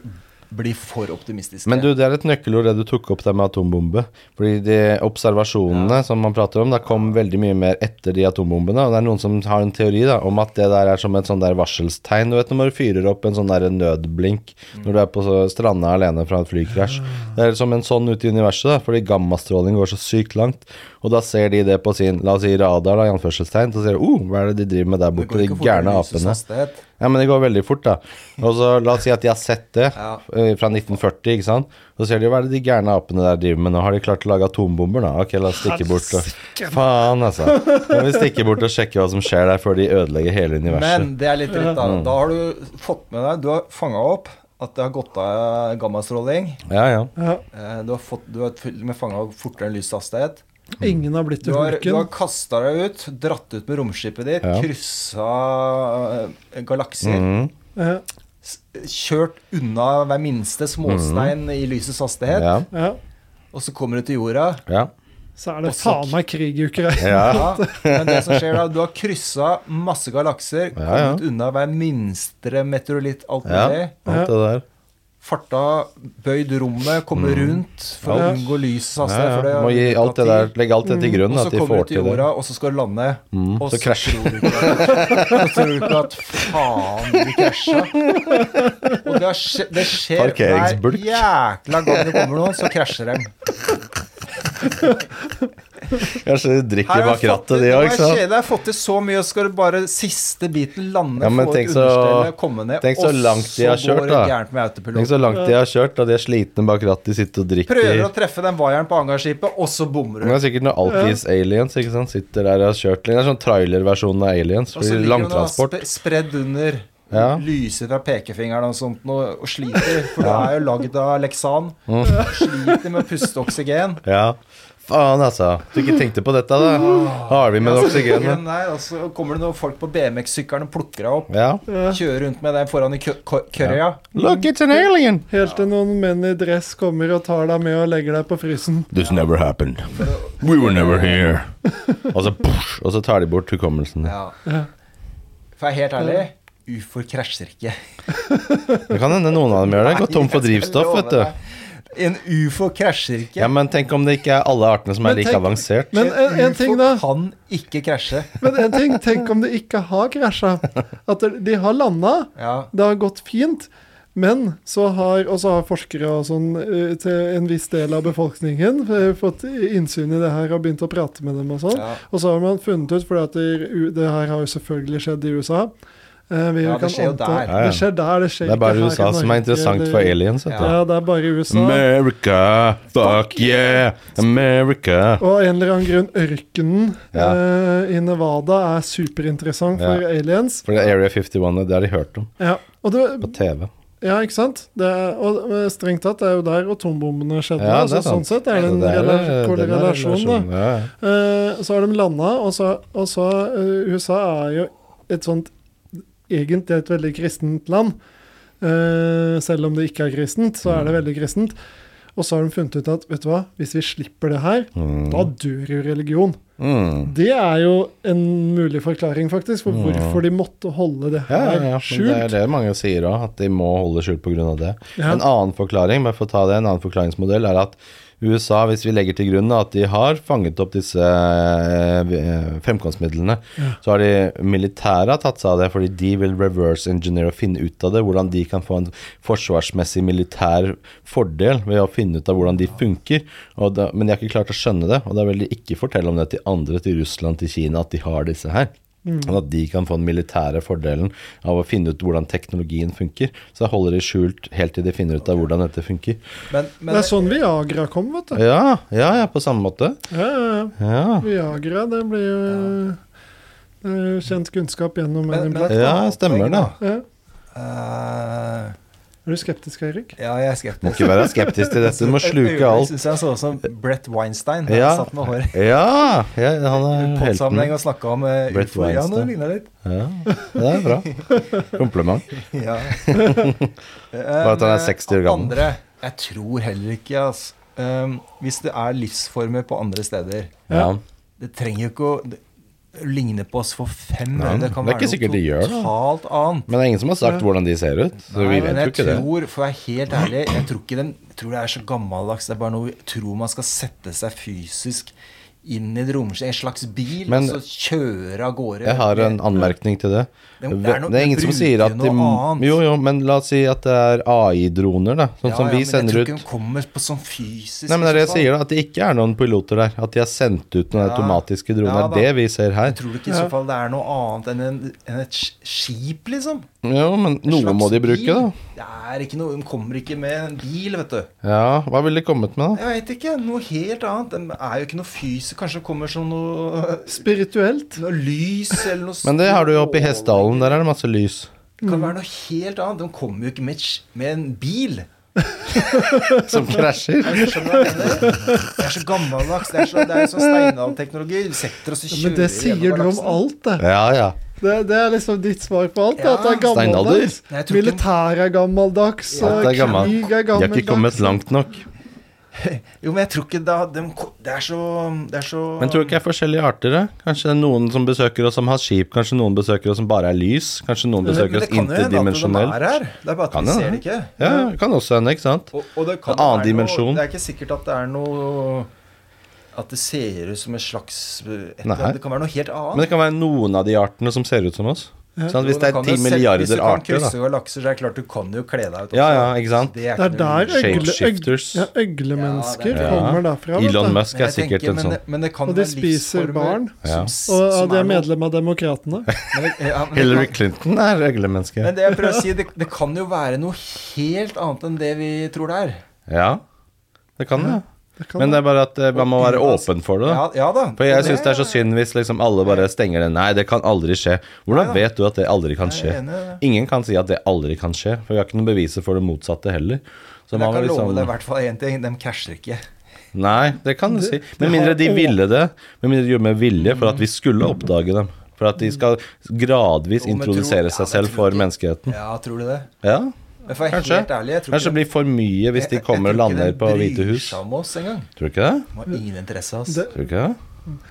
bli for optimistiske.
Men du, det er et nøkkelord det du tok opp der med atombombe. Fordi de observasjonene som man prater om, da kom veldig mye mer etter de atombombene. Og det er noen som har en teori da, om at det der er som et sånn der varselstegn. Du vet når du fyrer opp en sånn der nødblink når du er på så- stranda alene fra et flykrasj. Det er som en sånn ute i universet, da, fordi gammastråling går så sykt langt. Og da ser de det på sin, la oss si radar, da, i anførselstegn, så ser de oh, hva er det de driver med der
Det går
borte, de
ikke fort
gærne
med lysets
apene.
hastighet.
Ja, men det går veldig fort, da. Og så La oss si at de har sett det
Ja.
eh, fra 1940, ikke sant. Så ser de jo hva er det de gærne apene der driver med nå. Har de klart å lage atombomber, da? Ok, la oss stikke bort og Faen, altså. Nå må vi stikke bort og sjekke hva som skjer der, før de ødelegger hele universet.
Men det er litt dritt, da. Da har du fått med deg Du har fanga opp at det har gått av gammastråling.
Ja, ja.
Ja,
Eh, Du har, fått, du har fylt med fanga opp fortere enn lyshastighet.
ingen har blitt
Du har, du har
hulken.
kasta deg ut, dratt ut med romskipet ditt,
Ja.
kryssa eh, galakser.
Mhm.
Ja,
s- Kjørt unna hver minste småstein i lysets hastighet.
Mm. Ja.
ja.
Og så kommer du til jorda.
Ja.
Så er det
Også-
faen meg krig i Ukraina.
ja.
Ja, men det som skjer da, du har kryssa masse galakser,
Ja, ja.
kommet unna hver minstre meteoritt, alt
Ja.
mulig.
Alt det der.
Farta, bøyd rommet, komme rundt for
Ja.
å unngå
Mm.
lysets
Ja,
hastighet. for
ja. Må gi
det Mm.
alt det der, legge alt det til grunn,
Og så
at de
kommer
får
du til
til det. Mm.
jorda, og så skal du lande. Og
så krasjer.
tror du ikke at- Så tror du ikke at faen, du krasja. Og det, har skje, det skjer hver
Parkeringsbulk.
jækla gang det kommer noen, så krasjer de.
Kanskje de drikker
har
bak
jeg fått
rattet,
til-
de
nå
òg,
har
ikke
jeg
sant.
kjedet, Jeg har fått til så mye, og så skal du bare siste biten lande,
Ja, men
få
tenk
et
så-
understelle, komme ned,
tenk så langt de har
og så
kjørt,
går det
da.
gærent med
Tenk
autopilot.
så langt de har kjørt, og de er slitne bak rattet, de sitter og drikker.
Prøver å treffe den vaieren på hangarskipet, og så bommer
Men
du.
Det er sikkert noen Altis Aliens ikke sant? sitter der og har kjørt litt. Det er sånn trailerversjonen av Aliens.
Og så
Fordi
ligger du da
langtransport.
sp spredd under,
Ja.
lyser fra pekefingeren og sånt, og, og sliter, for du er jo lagd av leksan.
Mm.
Sliter med å puste oksygen.
Ja. Faen, altså. Du ikke tenkte på dette, da? Har vi med
Ja, så ligger den
oksygenet?
der, og så kommer det noen folk på BMX-sykkelen og plukker deg opp.
Ja.
Kjører rundt med deg foran i kø- kø- kørja.
Look, it's an alien!
Helt til noen menn i dress kommer og tar deg med og legger deg på frysen.
This never happened. We were never here. Og så, push, og så tar de bort hukommelsen.
Ja.
Ja.
For jeg er helt ærlig, ufoer krasjer ikke.
Det kan hende noen av dem gjør det. Går tom for drivstoff, vet du.
En ufo krasjer ikke.
Ja, Men tenk om det ikke er alle artene som er
Men
like
tenk-
avansert.
Men en, en ting, da.
UFO kan ikke krasje.
Men en ting, Tenk om de ikke har krasja. At de- de har landa.
Ja.
Det har gått fint. Men så har, og så har forskere og sånn, eh, til en viss del av befolkningen eh, fått innsyn i det her og begynt å prate med dem. Og sånn.
Ja.
Og så har man funnet ut, for det, u- det her har jo selvfølgelig skjedd i USA Eh, vi
Ja, det
kan
skjer jo
anta-
der.
Ja, ja.
Det skjer der, det skjer
Det er bare
ikke her i
USA som
Norge,
er interessant
det-
for aliens. Vet du.
Ja, det er bare i USA.
America, fuck yeah! America.
Og av en eller annen grunn ørkenen
Ja.
eh, i Nevada er superinteressant for
Ja.
aliens.
For det er Area 51, det har de hørt om
Ja, og
på
det,
TV.
ja ikke sant? Det er, og eh, strengt tatt det er jo der atombombene skjedde.
Ja, det
så
er sant. Altså,
sånn sett er det en
Det er-
rela
det er
korrelasjon, da.
relasjon, ja, ja.
Eh, så har de landa, og så, og så eh, USA er jo et sånt egentlig et veldig kristent land. Eh, selv om det ikke er kristent, så
Mm.
er det veldig kristent. Og så har de funnet ut at vet du hva, hvis vi slipper det her, da dør jo religion.
Mm.
Det er jo en mulig forklaring, faktisk, for hvorfor de måtte holde det
Ja, ja,
her
ja. men
skjult.
Det er det mange sier òg, at de må holde skjult pga. det.
Ja.
En annen forklaring men for å ta det, en annen forklaringsmodell er at USA, hvis vi legger til grunn at de har fanget opp disse eh, fremkomstmidlene, så har de militære har tatt seg av det, fordi de vil reverse engineer og finne ut av det. Hvordan de kan få en forsvarsmessig militær fordel ved å finne ut av hvordan de funker. Og da, men de har ikke klart å skjønne det, og da vil de ikke fortelle om det til andre, til Russland, til Kina, at de har disse her.
Mm.
Og at de kan få den militære fordelen av å finne ut hvordan teknologien funker. Så da holder de skjult helt til de finner ut av hvordan dette funker.
Men,
Det
men
er sånn Viagra kom, vet du.
Ja, ja, ja, på samme måte.
Ja, ja, ja.
Ja,
Viagra, det blir jo eh, det er jo kjent kunnskap gjennom Men,
men, men,
Ja, stemmer det.
ja.
Eh,
Er du skeptisk, Eirik?
ja, jeg er
Må
skeptisk.
ikke være skeptisk til dette, du må sluke
Jeg
alt.
syns jeg så ut som Brett Weinstein.
Ja.
Han satt med håret
Ja, ja han
i
er helten.
podsammenheng og snakka om eh,
Brett
UFO. Ja, nå
Weinstein.
ligner det litt.
Ja, det er bra. Kompliment.
Ja. Eh,
Bare at han er 60 år gammel.
Andre, jeg tror heller ikke, altså. hvis det er livsformer på andre steder
Ja.
Det trenger jo ikke å det, ligner på oss for fem
Nei,
øre.
det er ikke sikkert de gjør.
totalt annet.
Men det er ingen som har sagt hvordan de ser ut, så
Nei,
vi
men
vet jo
jeg
ikke det.
tror, for å være helt ærlig, jeg tror ikke den jeg tror det er så gammeldags. Det er bare noe vi tror man skal sette seg fysisk inn i et romskip, en slags bil,
Men-
og så kjøre av gårde.
Jeg har en anmerkning til det.
Det
Det
er noe-
er, ingen som
bruker
sier at de,
noe annet.
Jo, jo, men la oss si at det er AI-droner, da. Sånn
Ja,
som
ja,
vi
men
sender
Jeg tror
ut.
ikke den kommer på sånn fysisk.
Nei, men det er det jeg
i så fall.
sier, da. At det ikke er noen piloter der. At de har sendt ut noen
Ja.
automatiske droner.
Ja, da.
det er det vi ser her.
Jeg tror ikke i så fall det er noe annet enn, en, enn et sk- skip, liksom.
Jo, men
En
noe
slags
må de bruke,
bil.
da.
Det er ikke noe, De kommer ikke med en bil, vet du.
Ja, hva ville de kommet med, da?
Jeg veit ikke. Noe helt annet. De er jo ikke noe fysisk. Kanskje det kommer som noe,
Spirituelt.
noe lys eller noe
Men det har du jo oppe i Hessdalen. Der er det masse lys.
Det kan være noe helt annet. De kommer jo ikke med, et sk- med en bil.
Som krasjer.
Jeg skjønner hva jeg mener. Det er så gammeldags. Det er, så, det er jo sånn steinalteknologi. Du setter oss og kjører
Men det sier du
gjennom
om
galaksen.
alt, det.
Ja, ja.
Det, det er liksom ditt svar på alt.
Ja.
At det er
Steinalder.
gammeldags.
Jeg tror ikke-
Militær er gammeldags,
At
og
det er gammel.
krig er
De har ikke kommet
gammeldags.
langt nok.
Jo, men jeg tror ikke da de, ko- Det er så Det er så
Men tror du ikke det er forskjellige arter? da? Kanskje det er noen som besøker oss som har skip, kanskje noen besøker oss som bare er lys, kanskje noen besøker oss
Men det kan jo hende at de
interdimensjonelt.
er her. Det er bare at
Kan
vi
jo
ser det
det.
ikke.
Ja, det kan også hende, ikke sant?
Og, og det kan
En annen
være noe-
dimensjon.
Det er ikke sikkert at det er noe At det ser ut som en slags et, eller
Nei.
annet. Det kan være noe helt annet.
Men det kan være noen av de artene som ser ut som oss. Sånn at hvis det er ti milliarder arter,
Hvis du kan
da.
krysse galakser, så er det klart du kan jo kle deg ut.
Ja, ja, ikke sant?
Det
Det
er ikke
er
noe-
der øgle, øgle,
Shapeshifters.
ja, øglemennesker
Ja, det
er-
kommer derfra. vet
Elon
du.
Musk
Men
er
jeg
sikkert
tenker,
en
men
sånn.
det- Men det kan
Og de
være
spiser
livsformer
barn.
Ja.
s-
Og ja,
som
de er
noe-
medlem av Demokratene.
Men det- ja, men det
Hillary
kan-
Clinton er øglemenneske.
Men det jeg prøver å si, det, det kan jo være noe helt annet enn det vi tror det er.
Ja, det kan det.
Det kan
Men det er bare at eh, man må være åpen for det. da.
Ja, ja da.
For jeg syns det er så synd hvis liksom alle bare stenger det. Nei, det kan aldri skje. Hvordan vet du at det aldri kan
Jeg er
skje?
enig i det.
Ingen kan si at det aldri kan skje, for vi har ikke noen beviser for det motsatte heller. Så
Men jeg
man må
kan love
liksom
deg i hvert fall én ting, de casher ikke.
Nei, det kan du si. Med mindre de ville det. Med mindre de gjorde med vilje for
Mm.
at vi skulle oppdage dem. For at de skal gradvis
Jo, men
introdusere
tror- ja,
seg
men
selv
tror
for
ikke-
menneskeheten.
Ja, tror du det?
Ja,
Men for jeg er
kanskje.
helt ærlig, jeg tror
Kanskje det blir for mye hvis de kommer og lander på Hvite hus.
Jeg tror ikke den bryr seg om oss engang.
Tror du ikke det?
De har ingen interesse av oss.
Det-
Tror du ikke det?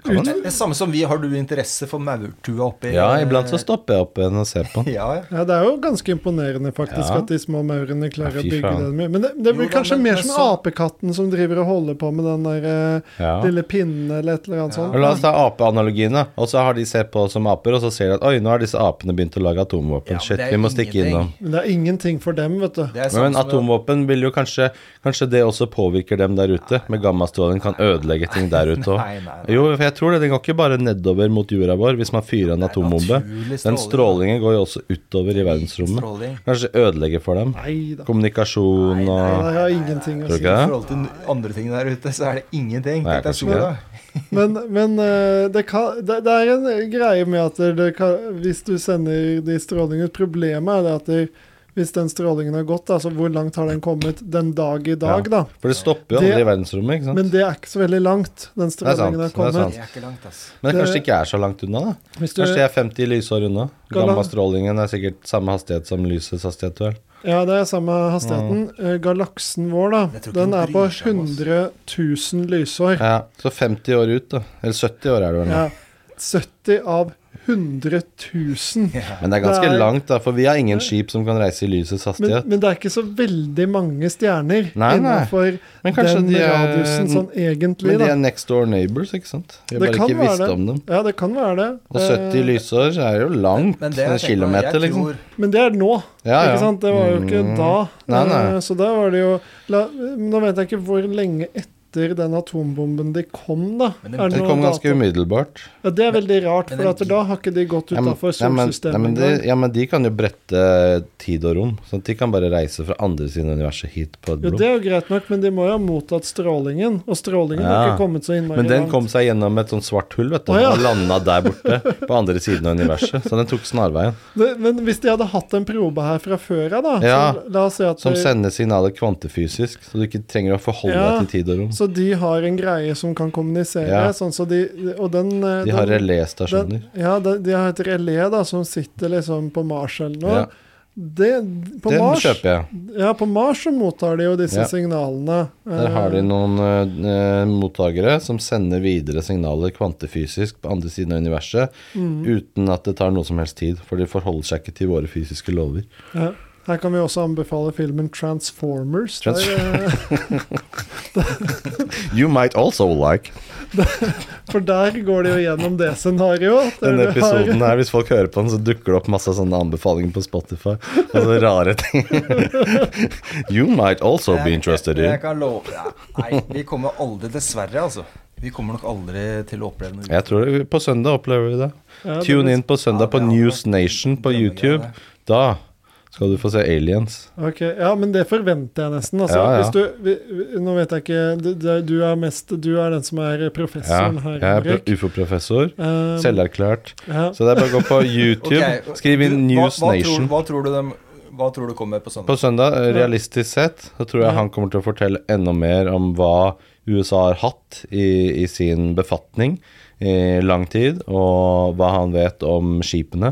Kan
Det
man?
er det samme som vi, har du interesse for maurtua oppi eh,
Ja, iblant så stopper jeg opp igjen og ser på den.
Ja, ja.
Ja, Det er jo ganske imponerende faktisk
Ja.
at de små maurene klarer
Ja,
å
fy
bygge
faen.
den mye. Men det, det blir
Jo da,
kanskje
men-
mer
men
som
så-
apekatten som driver og holder på med den der eh,
Ja.
lille pinnen eller et eller annet
Og La oss
sånt.
ta apeanalogiene. Og så har de sett på oss som aper, og så ser de at oi, nå har disse apene begynt å lage
Ja,
atomvåpen.
men
Shit,
det er
vi må
ingenting.
stikke innom.
Men det er ingenting for dem, vet du.
Det er
Men
samme som-
atomvåpen vil jo kanskje Kanskje det også påvirker dem der ute. Med gammastråling kan ødelegge ting der ute òg.
Nei, nei, nei.
Jo, for jeg tror det. Den går ikke bare nedover mot jorda vår hvis man fyrer en atombombe.
naturlig
Den
stråling.
strålingen går jo også utover i
Stråling.
verdensrommet. Kanskje ødelegger for dem.
Nei da.
Kommunikasjon og
Det har ingenting
Tror
å
du
si.
ikke
I
det?
forhold til andre ting der ute, så er det ingenting.
Nei,
Tenk deg
kanskje ikke
sola.
Men, men eh, det, kan, det, det er en greie med at det kan, hvis du sender de strålingene ut Problemet er det at det, hvis den strålingen har gått, altså hvor langt har den kommet den dag i dag, da?
For det stopper jo
Det-
aldri i verdensrommet, ikke
Men
sant?
det er ikke så veldig langt, den
er sant,
strålingen har
det er
kommet.
sant.
Det er ikke langt, ass.
Men det
det-
kanskje ikke er så langt unna, da.
Hvis du-
Kanskje jeg er 50 lysår unna.
Gala-
Gammastrålingen er sikkert samme hastighet som lysets hastighet, vel.
Ja, det er samme hastigheten. Eh, Galaksen vår,
Jeg
da,
tror ikke
den
den
er på
bryr seg om oss.
100 000 lysår.
Ja, så 50 år ut, da. Eller 70 år er det vel nå.
Ja. 70 av 100 000.
Men det er ganske
Det er-
langt, da, for vi har ingen skip som kan reise i lysets
Men,
hastighet.
men det er ikke så veldig mange stjerner
Nei, nei.
innenfor
Men kanskje
den
de er-
radiusen sånn
Men,
egentlig,
de
da.
er next door neighbors, ikke sant? Vi har
Det
bare
kan
ikke
være
visst
det.
om dem.
Ja, det kan være det.
Og 70
Eh,
lysår er jo langt.
Men det
en
jeg tenker meg,
kilometer,
jeg
liksom.
tror-
Men det er nå,
Ja, ja.
ikke sant? Det var jo ikke
Mm.
da.
Nei, nei.
Eh, Så da var det jo la, Nå vet jeg ikke hvor lenge etter den atombomben de kom, da.
Men den-
Er det
Det
noe
kom ganske
dato?
umiddelbart.
Ja, Det er veldig rart,
Men
for
den-
at da har ikke de gått
Ja, men-
utafor
ja, men- ja, men
solsystemet.
de-
engang.
ja, men de kan jo brette tid og rom. Sånn at de kan bare reise fra andre siden av universet hit på et
Jo,
blom.
det er jo greit nok, men de må jo ha mottatt strålingen, og strålingen har
Ja.
ikke kommet så innmari
Men den
langt.
kom seg gjennom et sånt svart hull vet du,
Å, ja.
og landa der borte, på andre siden av universet. Så den tok snarveien.
Det- Men hvis de hadde hatt en probe her fra før av, da
Ja,
så La oss si at
Som
de,
sender signaler kvantefysisk, så du ikke trenger å forholde
Ja.
deg til tid og rom.
Så de har en greie som kan kommunisere,
Ja.
sånn så de Og den eh,
De har
den-
reléstasjoner.
Den, ja, de, de har et relé da, som sitter liksom på Mars eller noe.
Ja.
Det, på
Den
Mars
kjøper jeg.
Ja, på Mars så mottar de jo disse
Ja.
signalene.
Der har de
Eh,
noen eh, eh, mottakere som sender videre signaler kvantefysisk på andre siden av universet
Mm.
uten at det tar noe som helst tid, for de forholder seg ikke til våre fysiske lover.
ja. Her kan vi også anbefale filmen Transformers.
Trans-
der, eh,
You might also like
for der går det jo gjennom det scenarioet. der
denne
du har-
episoden her. Hvis folk hører på den, så dukker det opp masse sånne anbefalinger på Spotify. Og så rare ting. you might also be interested
Jeg
in
kan love ja. Nei, vi kommer aldri, dessverre, altså. Vi kommer nok aldri til å oppleve noe.
Jeg tror det, på søndag opplever vi det.
Ja, det
Tune
blir-
inn på søndag på
Ja, det er
News Nation på YouTube. Da skal du få se aliens.
Ok, Ja, men det forventer jeg nesten. Altså,
Ja, ja.
Hvis du, vi, vi- nå vet jeg ikke du, du- du, er mest, du er den som er
Ja,
Sånn
professoren her.
jeg er
Henrik.
pro- ufo-professor.
Eh,
Selverklært.
ja.
Så det er bare å gå på YouTube,
Um, Ok,
skriv inn
du,
News
hva, hva
Nation.
Tror, hva, tror du dem, hva tror du kommer på søndag?
På søndag, eh, realistisk sett, så tror
Ja.
jeg han kommer til å fortelle enda mer om hva USA har hatt i, i sin befatning i lang tid, og hva han vet om skipene.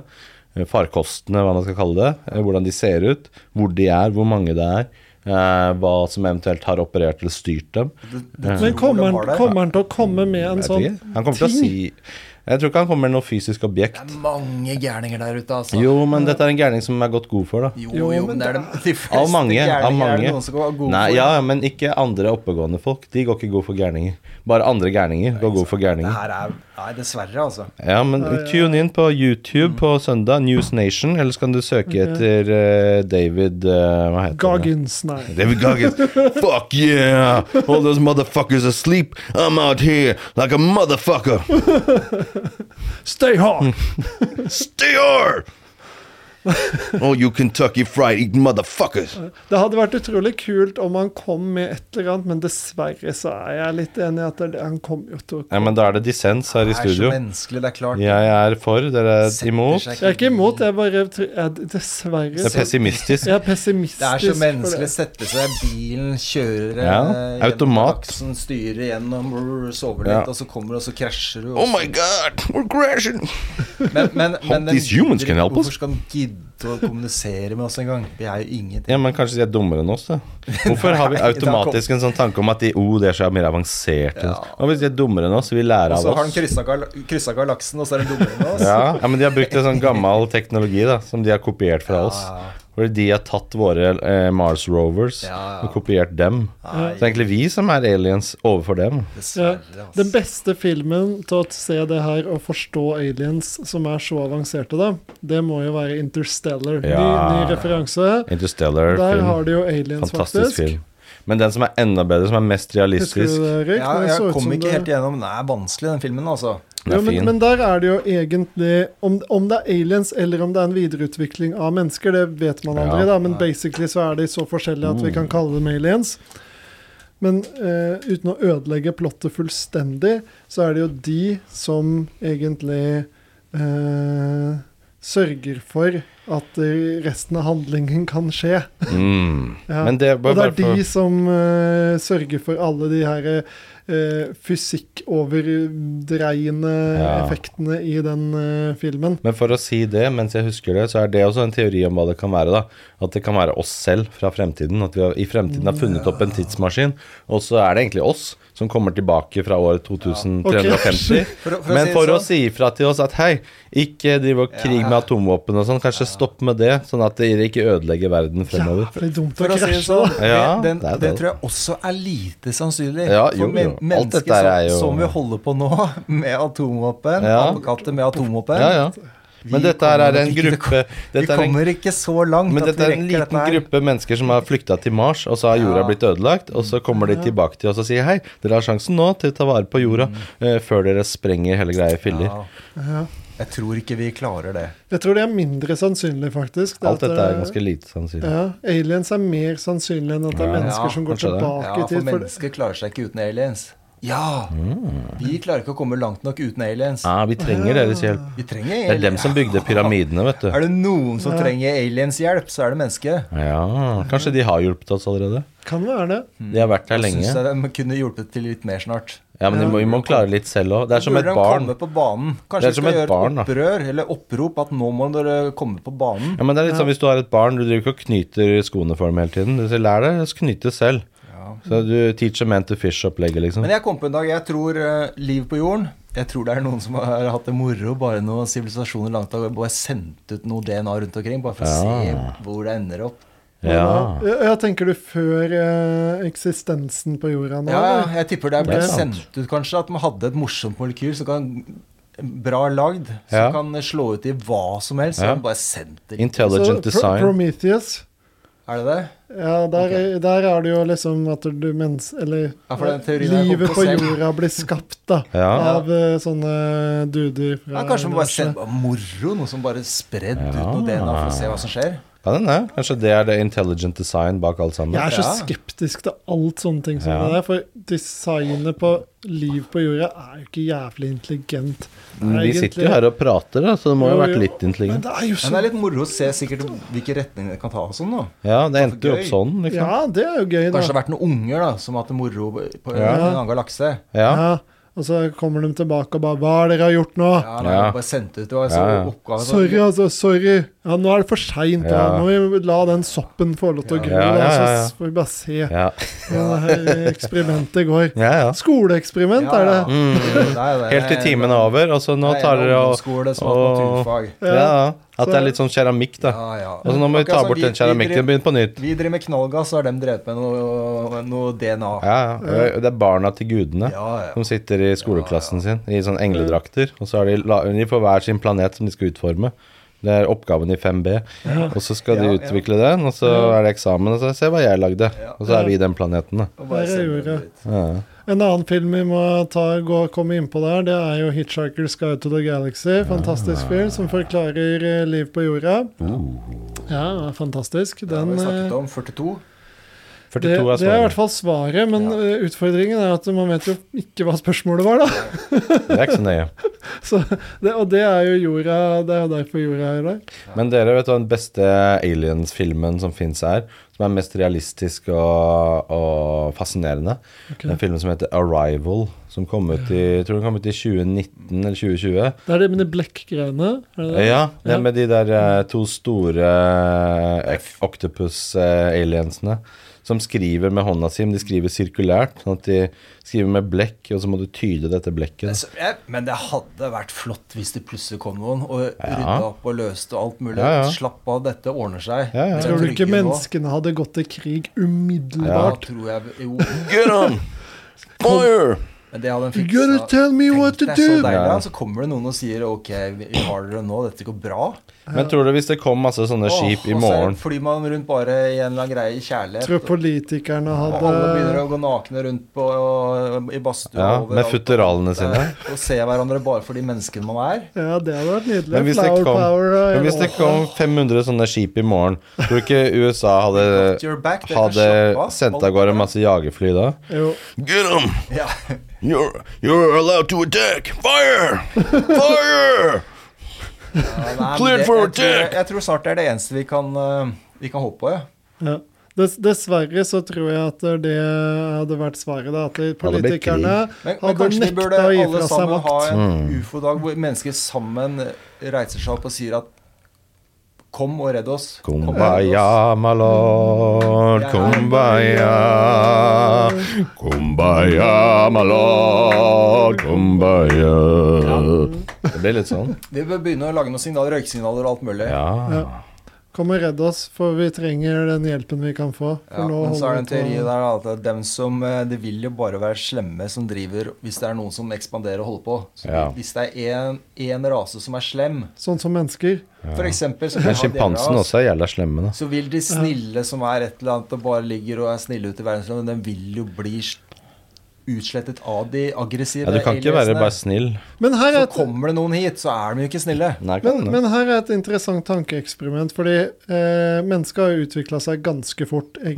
eh, Farkostene, hva man skal kalle det. eh, Hvordan de ser ut, hvor de er, hvor mange det er. eh, Hva som eventuelt har operert eller styrt dem.
Du, du
Men
tror de
kommer
har
han,
det?
kommer han til å komme med
Jeg
en
vet
sånn
ikke. Han kommer til å
ting.
si Jeg tror ikke han kommer med noe fysisk objekt.
Det er mange gærninger der ute, altså.
Jo, men dette er en gærning som er godt god for, da.
jo,
Jo,
jo,
men
men det er de, de fleste
Av mange.
gærninger
Av
er det
mange.
noen som går gode
Nei,
for.
ja, men ikke andre oppegående folk. De går ikke god for gærninger. Bare andre gærninger går god for
Det
gærninger.
her er Nei, dessverre, altså.
Ja, men tune inn på YouTube på søndag, News Nation, eller så kan du søke etter eh, David eh, Hva heter han?
Goggins, nei.
David Goggins. Fuck yeah! All those motherfuckers asleep. I'm out here like a motherfucker.
Stay hard!
Stay hard! Oh, you Kentucky fried eating motherfuckers.
Det hadde vært utrolig kult om han kom med et eller annet, men dessverre så er jeg litt enig i at det, han kom jo til å
Ja, men da er det dissens her i
Det er så
studio.
menneskelig, det er klart.
Jeg er for, dere
Setter
er imot.
seg
Jeg er ikke imot, jeg bare tr- jeg,
Det
Dessverre.
er
så-
pessimistisk.
Jeg er pessimistisk.
Det er så
for
menneskelig.
det.
Sette seg i bilen, kjøre
Ja,
eh, gjennom
automat.
aksen, styre gjennom, brr, sover litt,
Ja.
og så kommer du, og så krasjer du. og
Oh my god, we're crashing!
så- Men, men, men den
these humans
gidder
can
ikke-
help us.
Hvorfor skal de gidde å kommunisere med oss en gang? Vi er jo ingenting.
Ja, men kanskje de er dummere enn oss, da. Hvorfor har vi
Nei,
automatisk en sånn tanke om at de oh, de er så mer avanserte?
Ja.
Hva hvis de er dummere enn oss? Vil lære
Og så
av
har de
oss?
kryssa gal- kryssa galaksen, og så er de dummere enn oss.
Ja, ja, men de har brukt en sånn gammel teknologi da som de har kopiert fra oss. Hvor de har tatt våre eh, Mars Rovers
Ja, ja.
og kopiert dem. Så det er
Nei,
egentlig vi som er aliens overfor dem.
Ja.
dessverre.
Den
Altså.
beste filmen til å se det her og forstå aliens som er så avanserte, da, det må jo være Interstellar. Ny,
Ja.
ny referanse.
Interstellar
Der
film.
har de jo aliens,
Fantastisk
faktisk.
film. Men den som er enda bedre, som er mest
Husker du
realistisk
det, Erik?
Ja,
Det så
jeg
ut som
kom ikke
det-
helt igjennom. Den er vanskelig, den filmen, altså.
Den er
Jo, men,
fin.
men der er det jo egentlig om, om det er aliens eller om det er en videreutvikling av mennesker, det vet man
Ja. Mm.
aldri, da, men basically så er de så forskjellige at vi kan kalle dem aliens. Men eh, uten å ødelegge plottet fullstendig, så er det jo de som egentlig eh, sørger for at eh, resten av handlingen kan skje.
Mm.
Ja.
Men det var
Og det
bare
er
for
de som eh, sørger for alle de her eh, fysikkoverdreiende
Ja.
effektene i den eh, filmen.
Men for å si det, mens jeg husker det, så er det også en teori om hva det kan være. da. At det kan være oss selv fra fremtiden. At vi har, i fremtiden har funnet opp en tidsmaskin, og så er det egentlig oss som kommer tilbake fra året 2350.
Ok.
For å- for å si
Men
det
for å
sånn.
si ifra til oss at hei, ikke driv og krig med atomvåpen og sånn, kanskje stopp med det, sånn at dere ikke ødelegger verden fremover.
Jævlig dumt å
For å si
krasje,
det sånn,
da.
det,
Ja,
den,
det
det,
er det.
tror jeg også er lite sannsynlig.
Ja, jo,
For men-
jo. Alt
mennesker
dette er jo-
som, som vi holder på nå, med atomvåpen,
Ja.
apekatter med atomvåpen
Ja, ja. Men
Vi
dette her
kommer
er en
nok ikke til å
gruppe
Vi
dette er en
kommer ikke så langt
Men
at
dette er
vi
en
rekker
liten
dette her.
gruppe mennesker som har flykta til Mars, og så har jorda
Ja.
blitt ødelagt. Og så kommer de tilbake til oss og sier hei, dere har sjansen nå til å ta vare på jorda eh, før dere sprenger hele greia i filler.
Mm. Ja. Jeg tror ikke vi klarer det.
Jeg tror det er mindre sannsynlig, faktisk. Det
Alt
at,
dette er
eh,
ganske lite sannsynlig.
ja, Aliens er mer sannsynlig enn at det er
Ja.
mennesker
Ja,
som går
kanskje det.
tilbake
Ja,
i
for
tid. For,
mennesker klarer seg ikke uten aliens. Ja! Vi klarer ikke å komme langt nok uten aliens.
Mm. Ja, vi trenger deres hjelp.
Vi trenger
Det er dem som bygde pyramidene, vet
Er
du.
det noen som trenger aliens hjelp, så er det mennesket.
Ja, Kanskje de har hjulpet oss allerede?
Kan være det.
De har vært her
Synes
lenge.
Mm. jeg de kunne hjulpet til litt mer snart.
Ja, men vi må, vi må klare litt selv òg. Det er som
Burde
et
de
barn.
komme på banen?
Det er
Kanskje vi
som
skal
et
gjøre
barn,
et
da.
opprør eller opprop at nå må dere komme på banen?
Ja, men det er litt sånn Hvis du har et barn, du driver ikke og knyter skoene for dem hele tiden. Du sier, Lær deg å knyte selv. Så du teacher man to fish-opplegget, liksom.
Men jeg kom på en dag, jeg tror eh, liv på jorden Jeg tror det er noen som har hatt det moro, bare noen sivilisasjoner langt av gårde, bare sendt ut noe DNA rundt omkring, bare for å se hvor det ender opp.
Ja.
Ja, ja, tenker du før eh, eksistensen på jorda nå?
Ja, ja,
eller?
jeg tipper det
Det
er
er
blitt
sant.
sendt ut kanskje at man hadde et morsomt molekyl som kan Bra lagd, som
Ja.
kan slå ut i hva som helst.
Ja.
Så bare sendt det litt.
Intelligent
Så, Pro-
design.
Prometheus.
Er det det?
Ja, der, der er det jo liksom at du mens... Eller
Ja, for den teorien er
livet på
komplisert.
jorda blir skapt, da.
Ja.
Av eh, sånne duder fra
Ja, kanskje man bare
universet.
sender bare moro, noe som bare spredd ut
Ja.
noe DNA for å se hva som skjer.
Kan hende. Kanskje det er det intelligent design bak alt sammen.
Jeg er så
Ja.
skeptisk til alt sånne ting som
Ja.
det der, for designet på liv på jorda er jo ikke jævlig intelligent.
Men Vi Mm, sitter
egentlig.
jo her og prater, da, så det må jo ha vært litt
Men
intelligent.
det er jo
Men det
så
er litt moro å se sikkert hvilke retninger det kan ta og sånn, da.
Ja, det endte jo
gøy.
opp sånn, liksom.
Ja, det er jo gøy, da.
Kanskje det har vært noen unger da, som har hatt det moro på på
Ja.
en annen galakse.
Ja.
Ja, og så kommer de tilbake og bare 'Hva er det dere har gjort nå?'
Ja, da
Ja.
Bare sendt ut, det var så
Ja, ja.
oppgave. så-
Sorry, altså. Sorry. Ja, nå er det for seint.
Ja.
Nå må vi la den soppen få lov til å gro,
Ja, ja, ja, ja.
da, så får vi bare se
Ja,
hvordan det her eksperimentet går.
ja. ja.
Skoleeksperiment
Ja,
er det.
ja. Det er jo det.
Mm. Helt til timen er over, og så nå
Det er
tar
en
dere og
ungdomsskole som har hatt
og-
naturfag.
Ja, ja. At det er litt sånn keramikk, da.
Ja, ja.
Og så nå må vi ta
Akkurat som
bort den keramikken og
Vi,
begynne på nytt.
vi driver med knallgass, så har de drevet med noe, noe DNA.
Ja, ja. Det er barna til gudene
Ja, ja.
som sitter i skoleklassen sin i sånn engledrakter. Og så er de, la- de på hver sin planet som de skal utforme. Det er oppgaven i 5B. Og så skal
Ja,
de
ja.
utvikle den, og så er det eksamen, og så se hva jeg lagde. Og så er vi den planeten, da.
Og bare
Der er
sender det
jorda.
ut.
Ja.
En annen film vi må ta, gå, komme innpå der, det er jo 'Hitchhiker's Guide to the Galaxy'. Fantastisk film som forklarer eh, liv på jorda. Ja, fantastisk.
Det har
Den eh,
vi snakket om 42.
det,
42 er
det er i
svaret.
hvert fall svaret, men
Ja.
eh, utfordringen er at man vet jo ikke hva spørsmålet var, da.
Det er ikke så nøye.
Så det, og det er jo jorda Det er jo derfor jorda er der.
Men dere vet hva den beste aliens-filmen som fins er? Som er mest realistisk og, og fascinerende?
Ok.
Den filmen som heter 'Arrival', som kom ut i, jeg tror den kom ut i 2019 eller 2020.
Det er det med de blekkgreiene. Eh, er det det?
Ja, det
Ja.
er med de der eh, to store eh, octopus-aliensene som skriver med hånda si, men de skriver sirkulært. Sånn at de skriver med blekk, og så må du tyde dette blekket.
Så, ja, Men det hadde vært flott hvis det plutselig kom noen og
Ja.
rydda opp og løste alt mulig.
Ja, ja.
Slapp av, dette ordner seg.
Ja, ja.
Vi er
Tror du ikke
trygge nå.
menneskene hadde gått til krig
Ja,
umiddelbart?
tror jeg Jo.
Get on! Fire!
Men det hadde han
You
fiksa.
gotta tell me
Tenk
what to
deg
do!
Så, deilig,
Ja.
da. så kommer det noen og sier OK, vi vi har dere nå, dette går bra.
Men tror du hvis det kom masse sånne skip i
Åh,
morgen
Og så flyr man rundt bare i en eller annen greie i kjærlighet.
Tror politikerne
og alle begynner
hadde
å gå nakne rundt på, og, i badstua
Ja,
overalt.
med futteralene sine.
Eh, Og se hverandre bare for de menneskene man er.
Ja, det hadde vært nydelig.
Men hvis det
Flower
kom-
power og
Men hvis det kom 500 sånne skip i morgen, tror du ikke USA
Got
hadde,
your back, dere kan
hadde
slappe av.
sendt
Alt
av gårde
er bra.
masse jagerfly da?
Jo.
Get on!
Ja.
You're, you're allowed to attack! Fire! Fire!
Ja, nei, men
Cleared
det-
for
jeg tror-
attack!
Jeg tror snart det er det eneste vi kan, eh, vi kan håpe på. Ja.
Ja. Dess, dessverre så tror jeg at det hadde vært svaret, da. At
hadde blitt krig.
politikerne
Men, men
hadde
kanskje vi burde
nekta å gi
alle
fra seg
sammen ha
makt.
en
Mm.
ufo-dag hvor mennesker sammen reiser seg opp og sier at Kom og redd oss. Kom og redd oss.
Kumbaya, my lord. Kumbaya. Kumbaya, my lord. Kumbaya. Det blir litt sånn.
Vi bør begynne å lage noen signaler, røykesignaler og alt mulig.
Ja.
Kom og redd oss, for vi trenger den hjelpen vi kan få. For
Ja,
nå
men så er det en
holder
teori
vi på-
der da, at dem som, eh, det vil jo bare være slemme som driver hvis det er noen som ekspanderer og holder på. Så
Ja.
Hvis det er én rase som er slem,
Sånn som mennesker.
for eksempel så
Men
vil ha deler
sjimpansen
av oss,
også er jævla slemme, da.
så vil de snille som er et eller annet og bare ligger og er snille ute i verdensrommet, de vil jo bli s- utslettet av de aggressive
Ja, du kan ikke være
aliensene.
bare snill.
Men her er
Så
et,
kommer det noen hit, så er de jo ikke snille.
Nei, kan
men,
det.
men her er et interessant tankeeksperiment, fordi eh, mennesket har jo utvikla seg ganske fort, egentlig.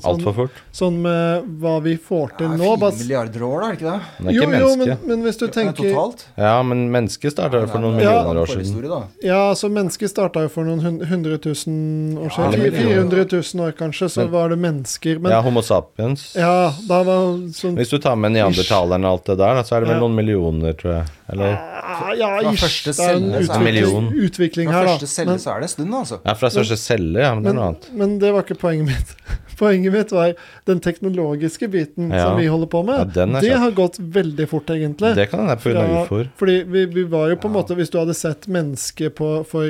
mm, Altfor
sånn,
fort.
sånn med hva vi får
Det
til
er
nå.
fire
bas-
milliarder år, da, er det ikke det?
Men det er
jo,
ikke
jo,
menneske.
men, men hvis du
Ja,
tenker
Totalt?
Ja, men mennesket starta jo for noen millioner år siden.
Forhistorie, da.
Ja, altså mennesket starta jo for noen hun- 100 000 år
Ja,
siden.
eller
Fi-
millioner.
400 000 år, kanskje, så
Men-
var det mennesker. Men
Ja,
ja,
Homo sapiens.
da var sånn
Hvis du tar med neandertaleren og alt det der, da, så er det vel
Ja.
noen millioner, tror jeg. Eller?
Ah, Ja,
Fra
ish.
første
Det er en
celle så er
det-
utvikling,
Million.
utvikling
Fra
her,
første
da.
celle
Men,
så er det en stund, altså.
Ja, fra største celle, ja. Men det er noe
men,
annet.
men det var ikke poenget mitt. Poenget mitt var den teknologiske biten
Ja.
som vi holder på
Ja,
med.
den er
det
kjapp.
har gått veldig fort, egentlig.
Det kan hende pga.
Fra-
ufoer.
Fordi vi, vi var jo på en
Ja.
måte Hvis du hadde sett mennesket på for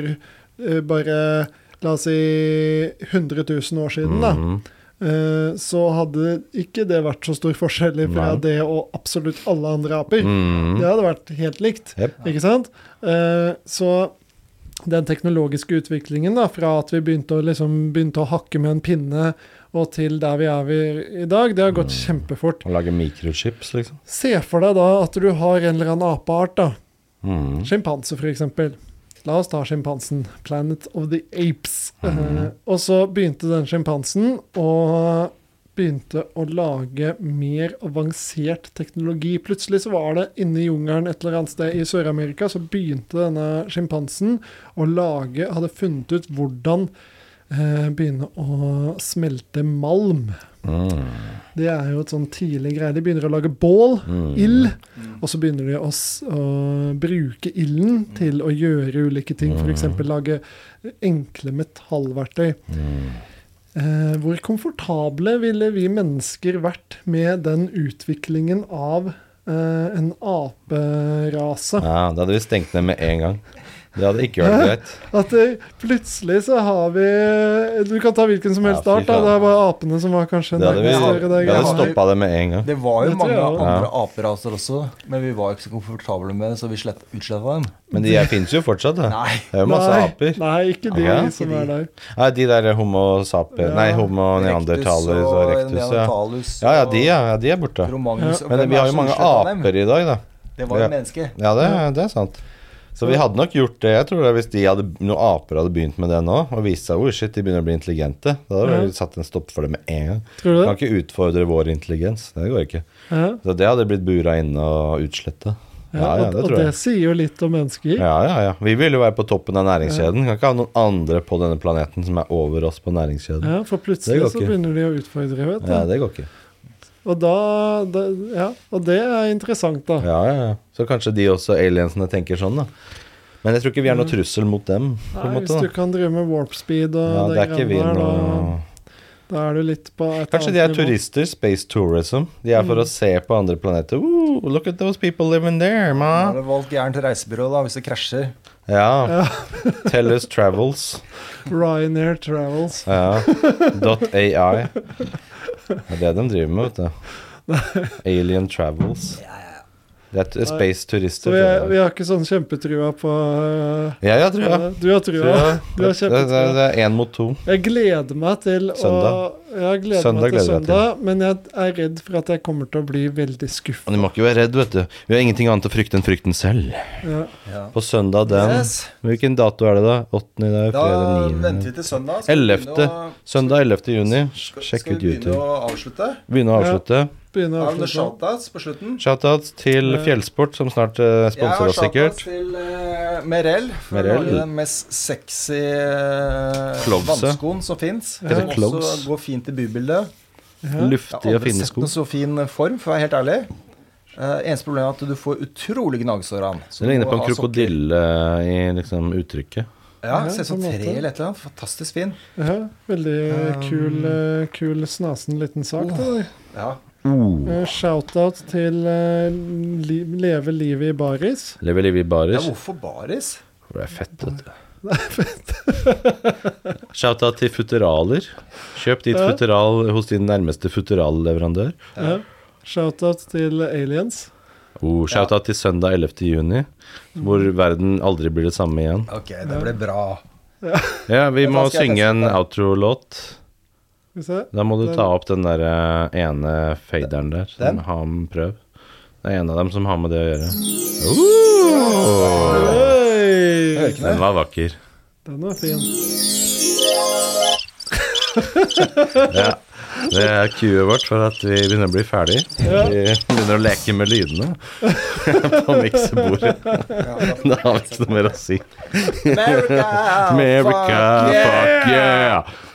eh, bare La oss si 100 000 år siden, da.
Mhm.
eh, så hadde ikke det vært så stor forskjell fra
Nei.
det og absolutt alle andre aper.
Mhm.
Det hadde vært helt likt,
Jep.
ikke sant? Eh, så den teknologiske utviklingen da, fra at vi begynte å, liksom, begynte å hakke med en pinne og til der vi er vi i dag, det har gått
Mhm.
kjempefort.
Å lage mikrochips, liksom.
Se for deg da at du har en eller annen apeart, da.
Mhm.
Sjimpanse, f.eks. La oss ta sjimpansen. Planet of the Apes. Eh, og så begynte den sjimpansen å begynte å lage mer avansert teknologi. Plutselig så var det inne i jungelen et eller annet sted i Sør-Amerika, så begynte denne sjimpansen å lage Hadde funnet ut hvordan eh, begynne å smelte malm.
Mhm.
Det er jo et sånn tidlig greie. De begynner å lage bål,
Mm.
ild, og så begynner de å, s- å bruke ilden til å gjøre ulike ting, f.eks. lage enkle metallverktøy. Eh, hvor komfortable ville vi mennesker vært med den utviklingen av eh, en aperase?
Ja, da hadde vi stengt ned med en gang. Det hadde ikke vært greit.
At eh, plutselig så har vi Du kan ta hvilken som
Ja,
helst
fy
art, da.
faen.
Det er bare apene som var kanskje
Det hadde vi,
nærmest
nærmest
vi
gjøre
det
greia.
hadde
greiene.
stoppa det med en gang.
Det var jo
Det tror
mange
jeg også.
andre aperaser også, men vi var jo ikke så komfortable med det, så vi slett utsletta dem.
Men de her fins jo fortsatt, da.
Nei.
Det er jo masse
nei,
aper.
Nei, ikke de
Ja.
som er der.
Nei, de der homo sapiens
Ja.
Nei, homo neandertaler og rektus, ja.
neandertalus
Ja, ja, de, ja, ja, de er borte.
og Romanus. og
Men
hvem
vi
er
har
som
jo mange
utslettet dem?
aper i dag, da.
Det var jo
Ja.
mennesker.
Ja, det, det er sant. Så vi hadde nok gjort det, jeg tror det, hvis de hadde, noen aper hadde begynt med det nå, og vist seg oh shit, de begynner å bli intelligente. Da hadde
Ja.
vi satt en stopp for det med en gang.
Tror
Vi
du
kan
det?
ikke utfordre vår intelligens. Det går ikke.
Ja.
Så det hadde blitt bura inne og utsletta.
Ja,
Ja, ja,
og,
det
og
tror
det
jeg.
sier jo litt om mennesker.
Ja, ja, ja. Vi vil jo være på toppen av næringskjeden. Kan ikke ha noen andre på denne planeten som er over oss på næringskjeden.
Ja, for
Det
plutselig
går
så
ikke.
begynner de å utfordre, vet du.
Ja, det går ikke.
Og da, da Ja, og det er interessant, da.
Ja, ja, ja. Så kanskje de også aliensene tenker sånn, da. Men jeg tror ikke vi er noen trussel mot dem. på en
Mm. Nei,
måte
hvis du
da.
kan drive med warp speed og
Ja, det er ikke vi
greiene der,
noe
da, da er du litt på et
Kanskje de er turister. Space tourism. De er
Mm.
for å se på andre planeter. Ooh, look at those people living there,
Da
ma.
hadde du valgt gærent reisebyrå da, hvis det krasjer.
Ja. Tellus Travels.
Ryanair Travels.
Ja. Dot AI. Det er det de driver med, vet du. Alien Travels. Det er t- space
Så
turister.
vi, er,
tror
vi
jeg.
har ikke sånn kjempetrua på eh,
Ja, jeg tror jeg.
Du har trua.
Tror jeg.
Du har
Det, det,
kjempetrua.
det er én mot to.
Jeg gleder meg til
Søndag.
Å, jeg gleder
Søndag
meg til
gleder jeg meg til.
søndag, men jeg er redd for at jeg kommer til å bli veldig skuffa.
Men du må ikke være redd, vet du. Vi har ingenting annet å frykte enn frykten selv.
Ja.
Ja.
På søndag den
Yes.
Hvilken dato er det, da? 8. i dag?
Da
Fredag
venter
9.
vi til søndag. Skal vi
11.
begynne å-
Søndag 11. juni.
skal-
Sjekk ut
Skal vi begynne
YouTube.
å avslutte?
Begynne å avslutte.
Begynne å
Har du noen
avslutte.
shoutouts på slutten?
Shoutouts til
Ja.
Fjellsport, som snart eh, sponser oss sikkert.
til eh, Merel. For
Merel.
å lage den mest sexy eh,
Clogse.
vannskoen som fins.
Heter
Som
clogs.
også går fint i bybildet.
Ja.
Jeg
Luftige
har
og
aldri
fine
sett
sko.
noe så fin form, for å være helt ærlig. Eh, eneste problem er at du får utrolig gnagsår av den. Så
Det
du
ligner
må
på en
ha sokker.
krokodille i liksom uttrykket.
Ja,
Ja,
ser ut som
på en måte.
tre eller et eller annet. Fantastisk fin.
Ja, veldig
Um.
eh, kul, eh, kul snasen liten sak.
Oh.
det der.
Ja.
Eh, Shoutout til eh, li Leve livet i baris.
Lever livet i
ja,
baris.
hvorfor baris?
Det er fett, vet du. Shoutout til Futuraler. Kjøp ditt
Ja.
Futural hos din nærmeste Futural-leverandør.
Ja. Shoutout til aliens.
Oh, Shoutout til søndag 11. juni, hvor verden aldri blir det samme igjen.
Ok, det ble bra.
Ja, vi
Ja, da
må
skal jeg
synge
teste
en
det.
outro-låt.
Skal vi se.
Da må du
Den-
ta opp den der eh, ene faderen der. Som
Den?
har med prøv. Det er en av dem som har med det å gjøre.
Uh!
Oi!
Den var vakker.
Den var fin.
Det er cuet vårt for at vi begynner å bli ferdig. Vi begynner å leke med lydene på miksebordet. Da har vi ikke noe mer å si.
America!
America, fuck yeah!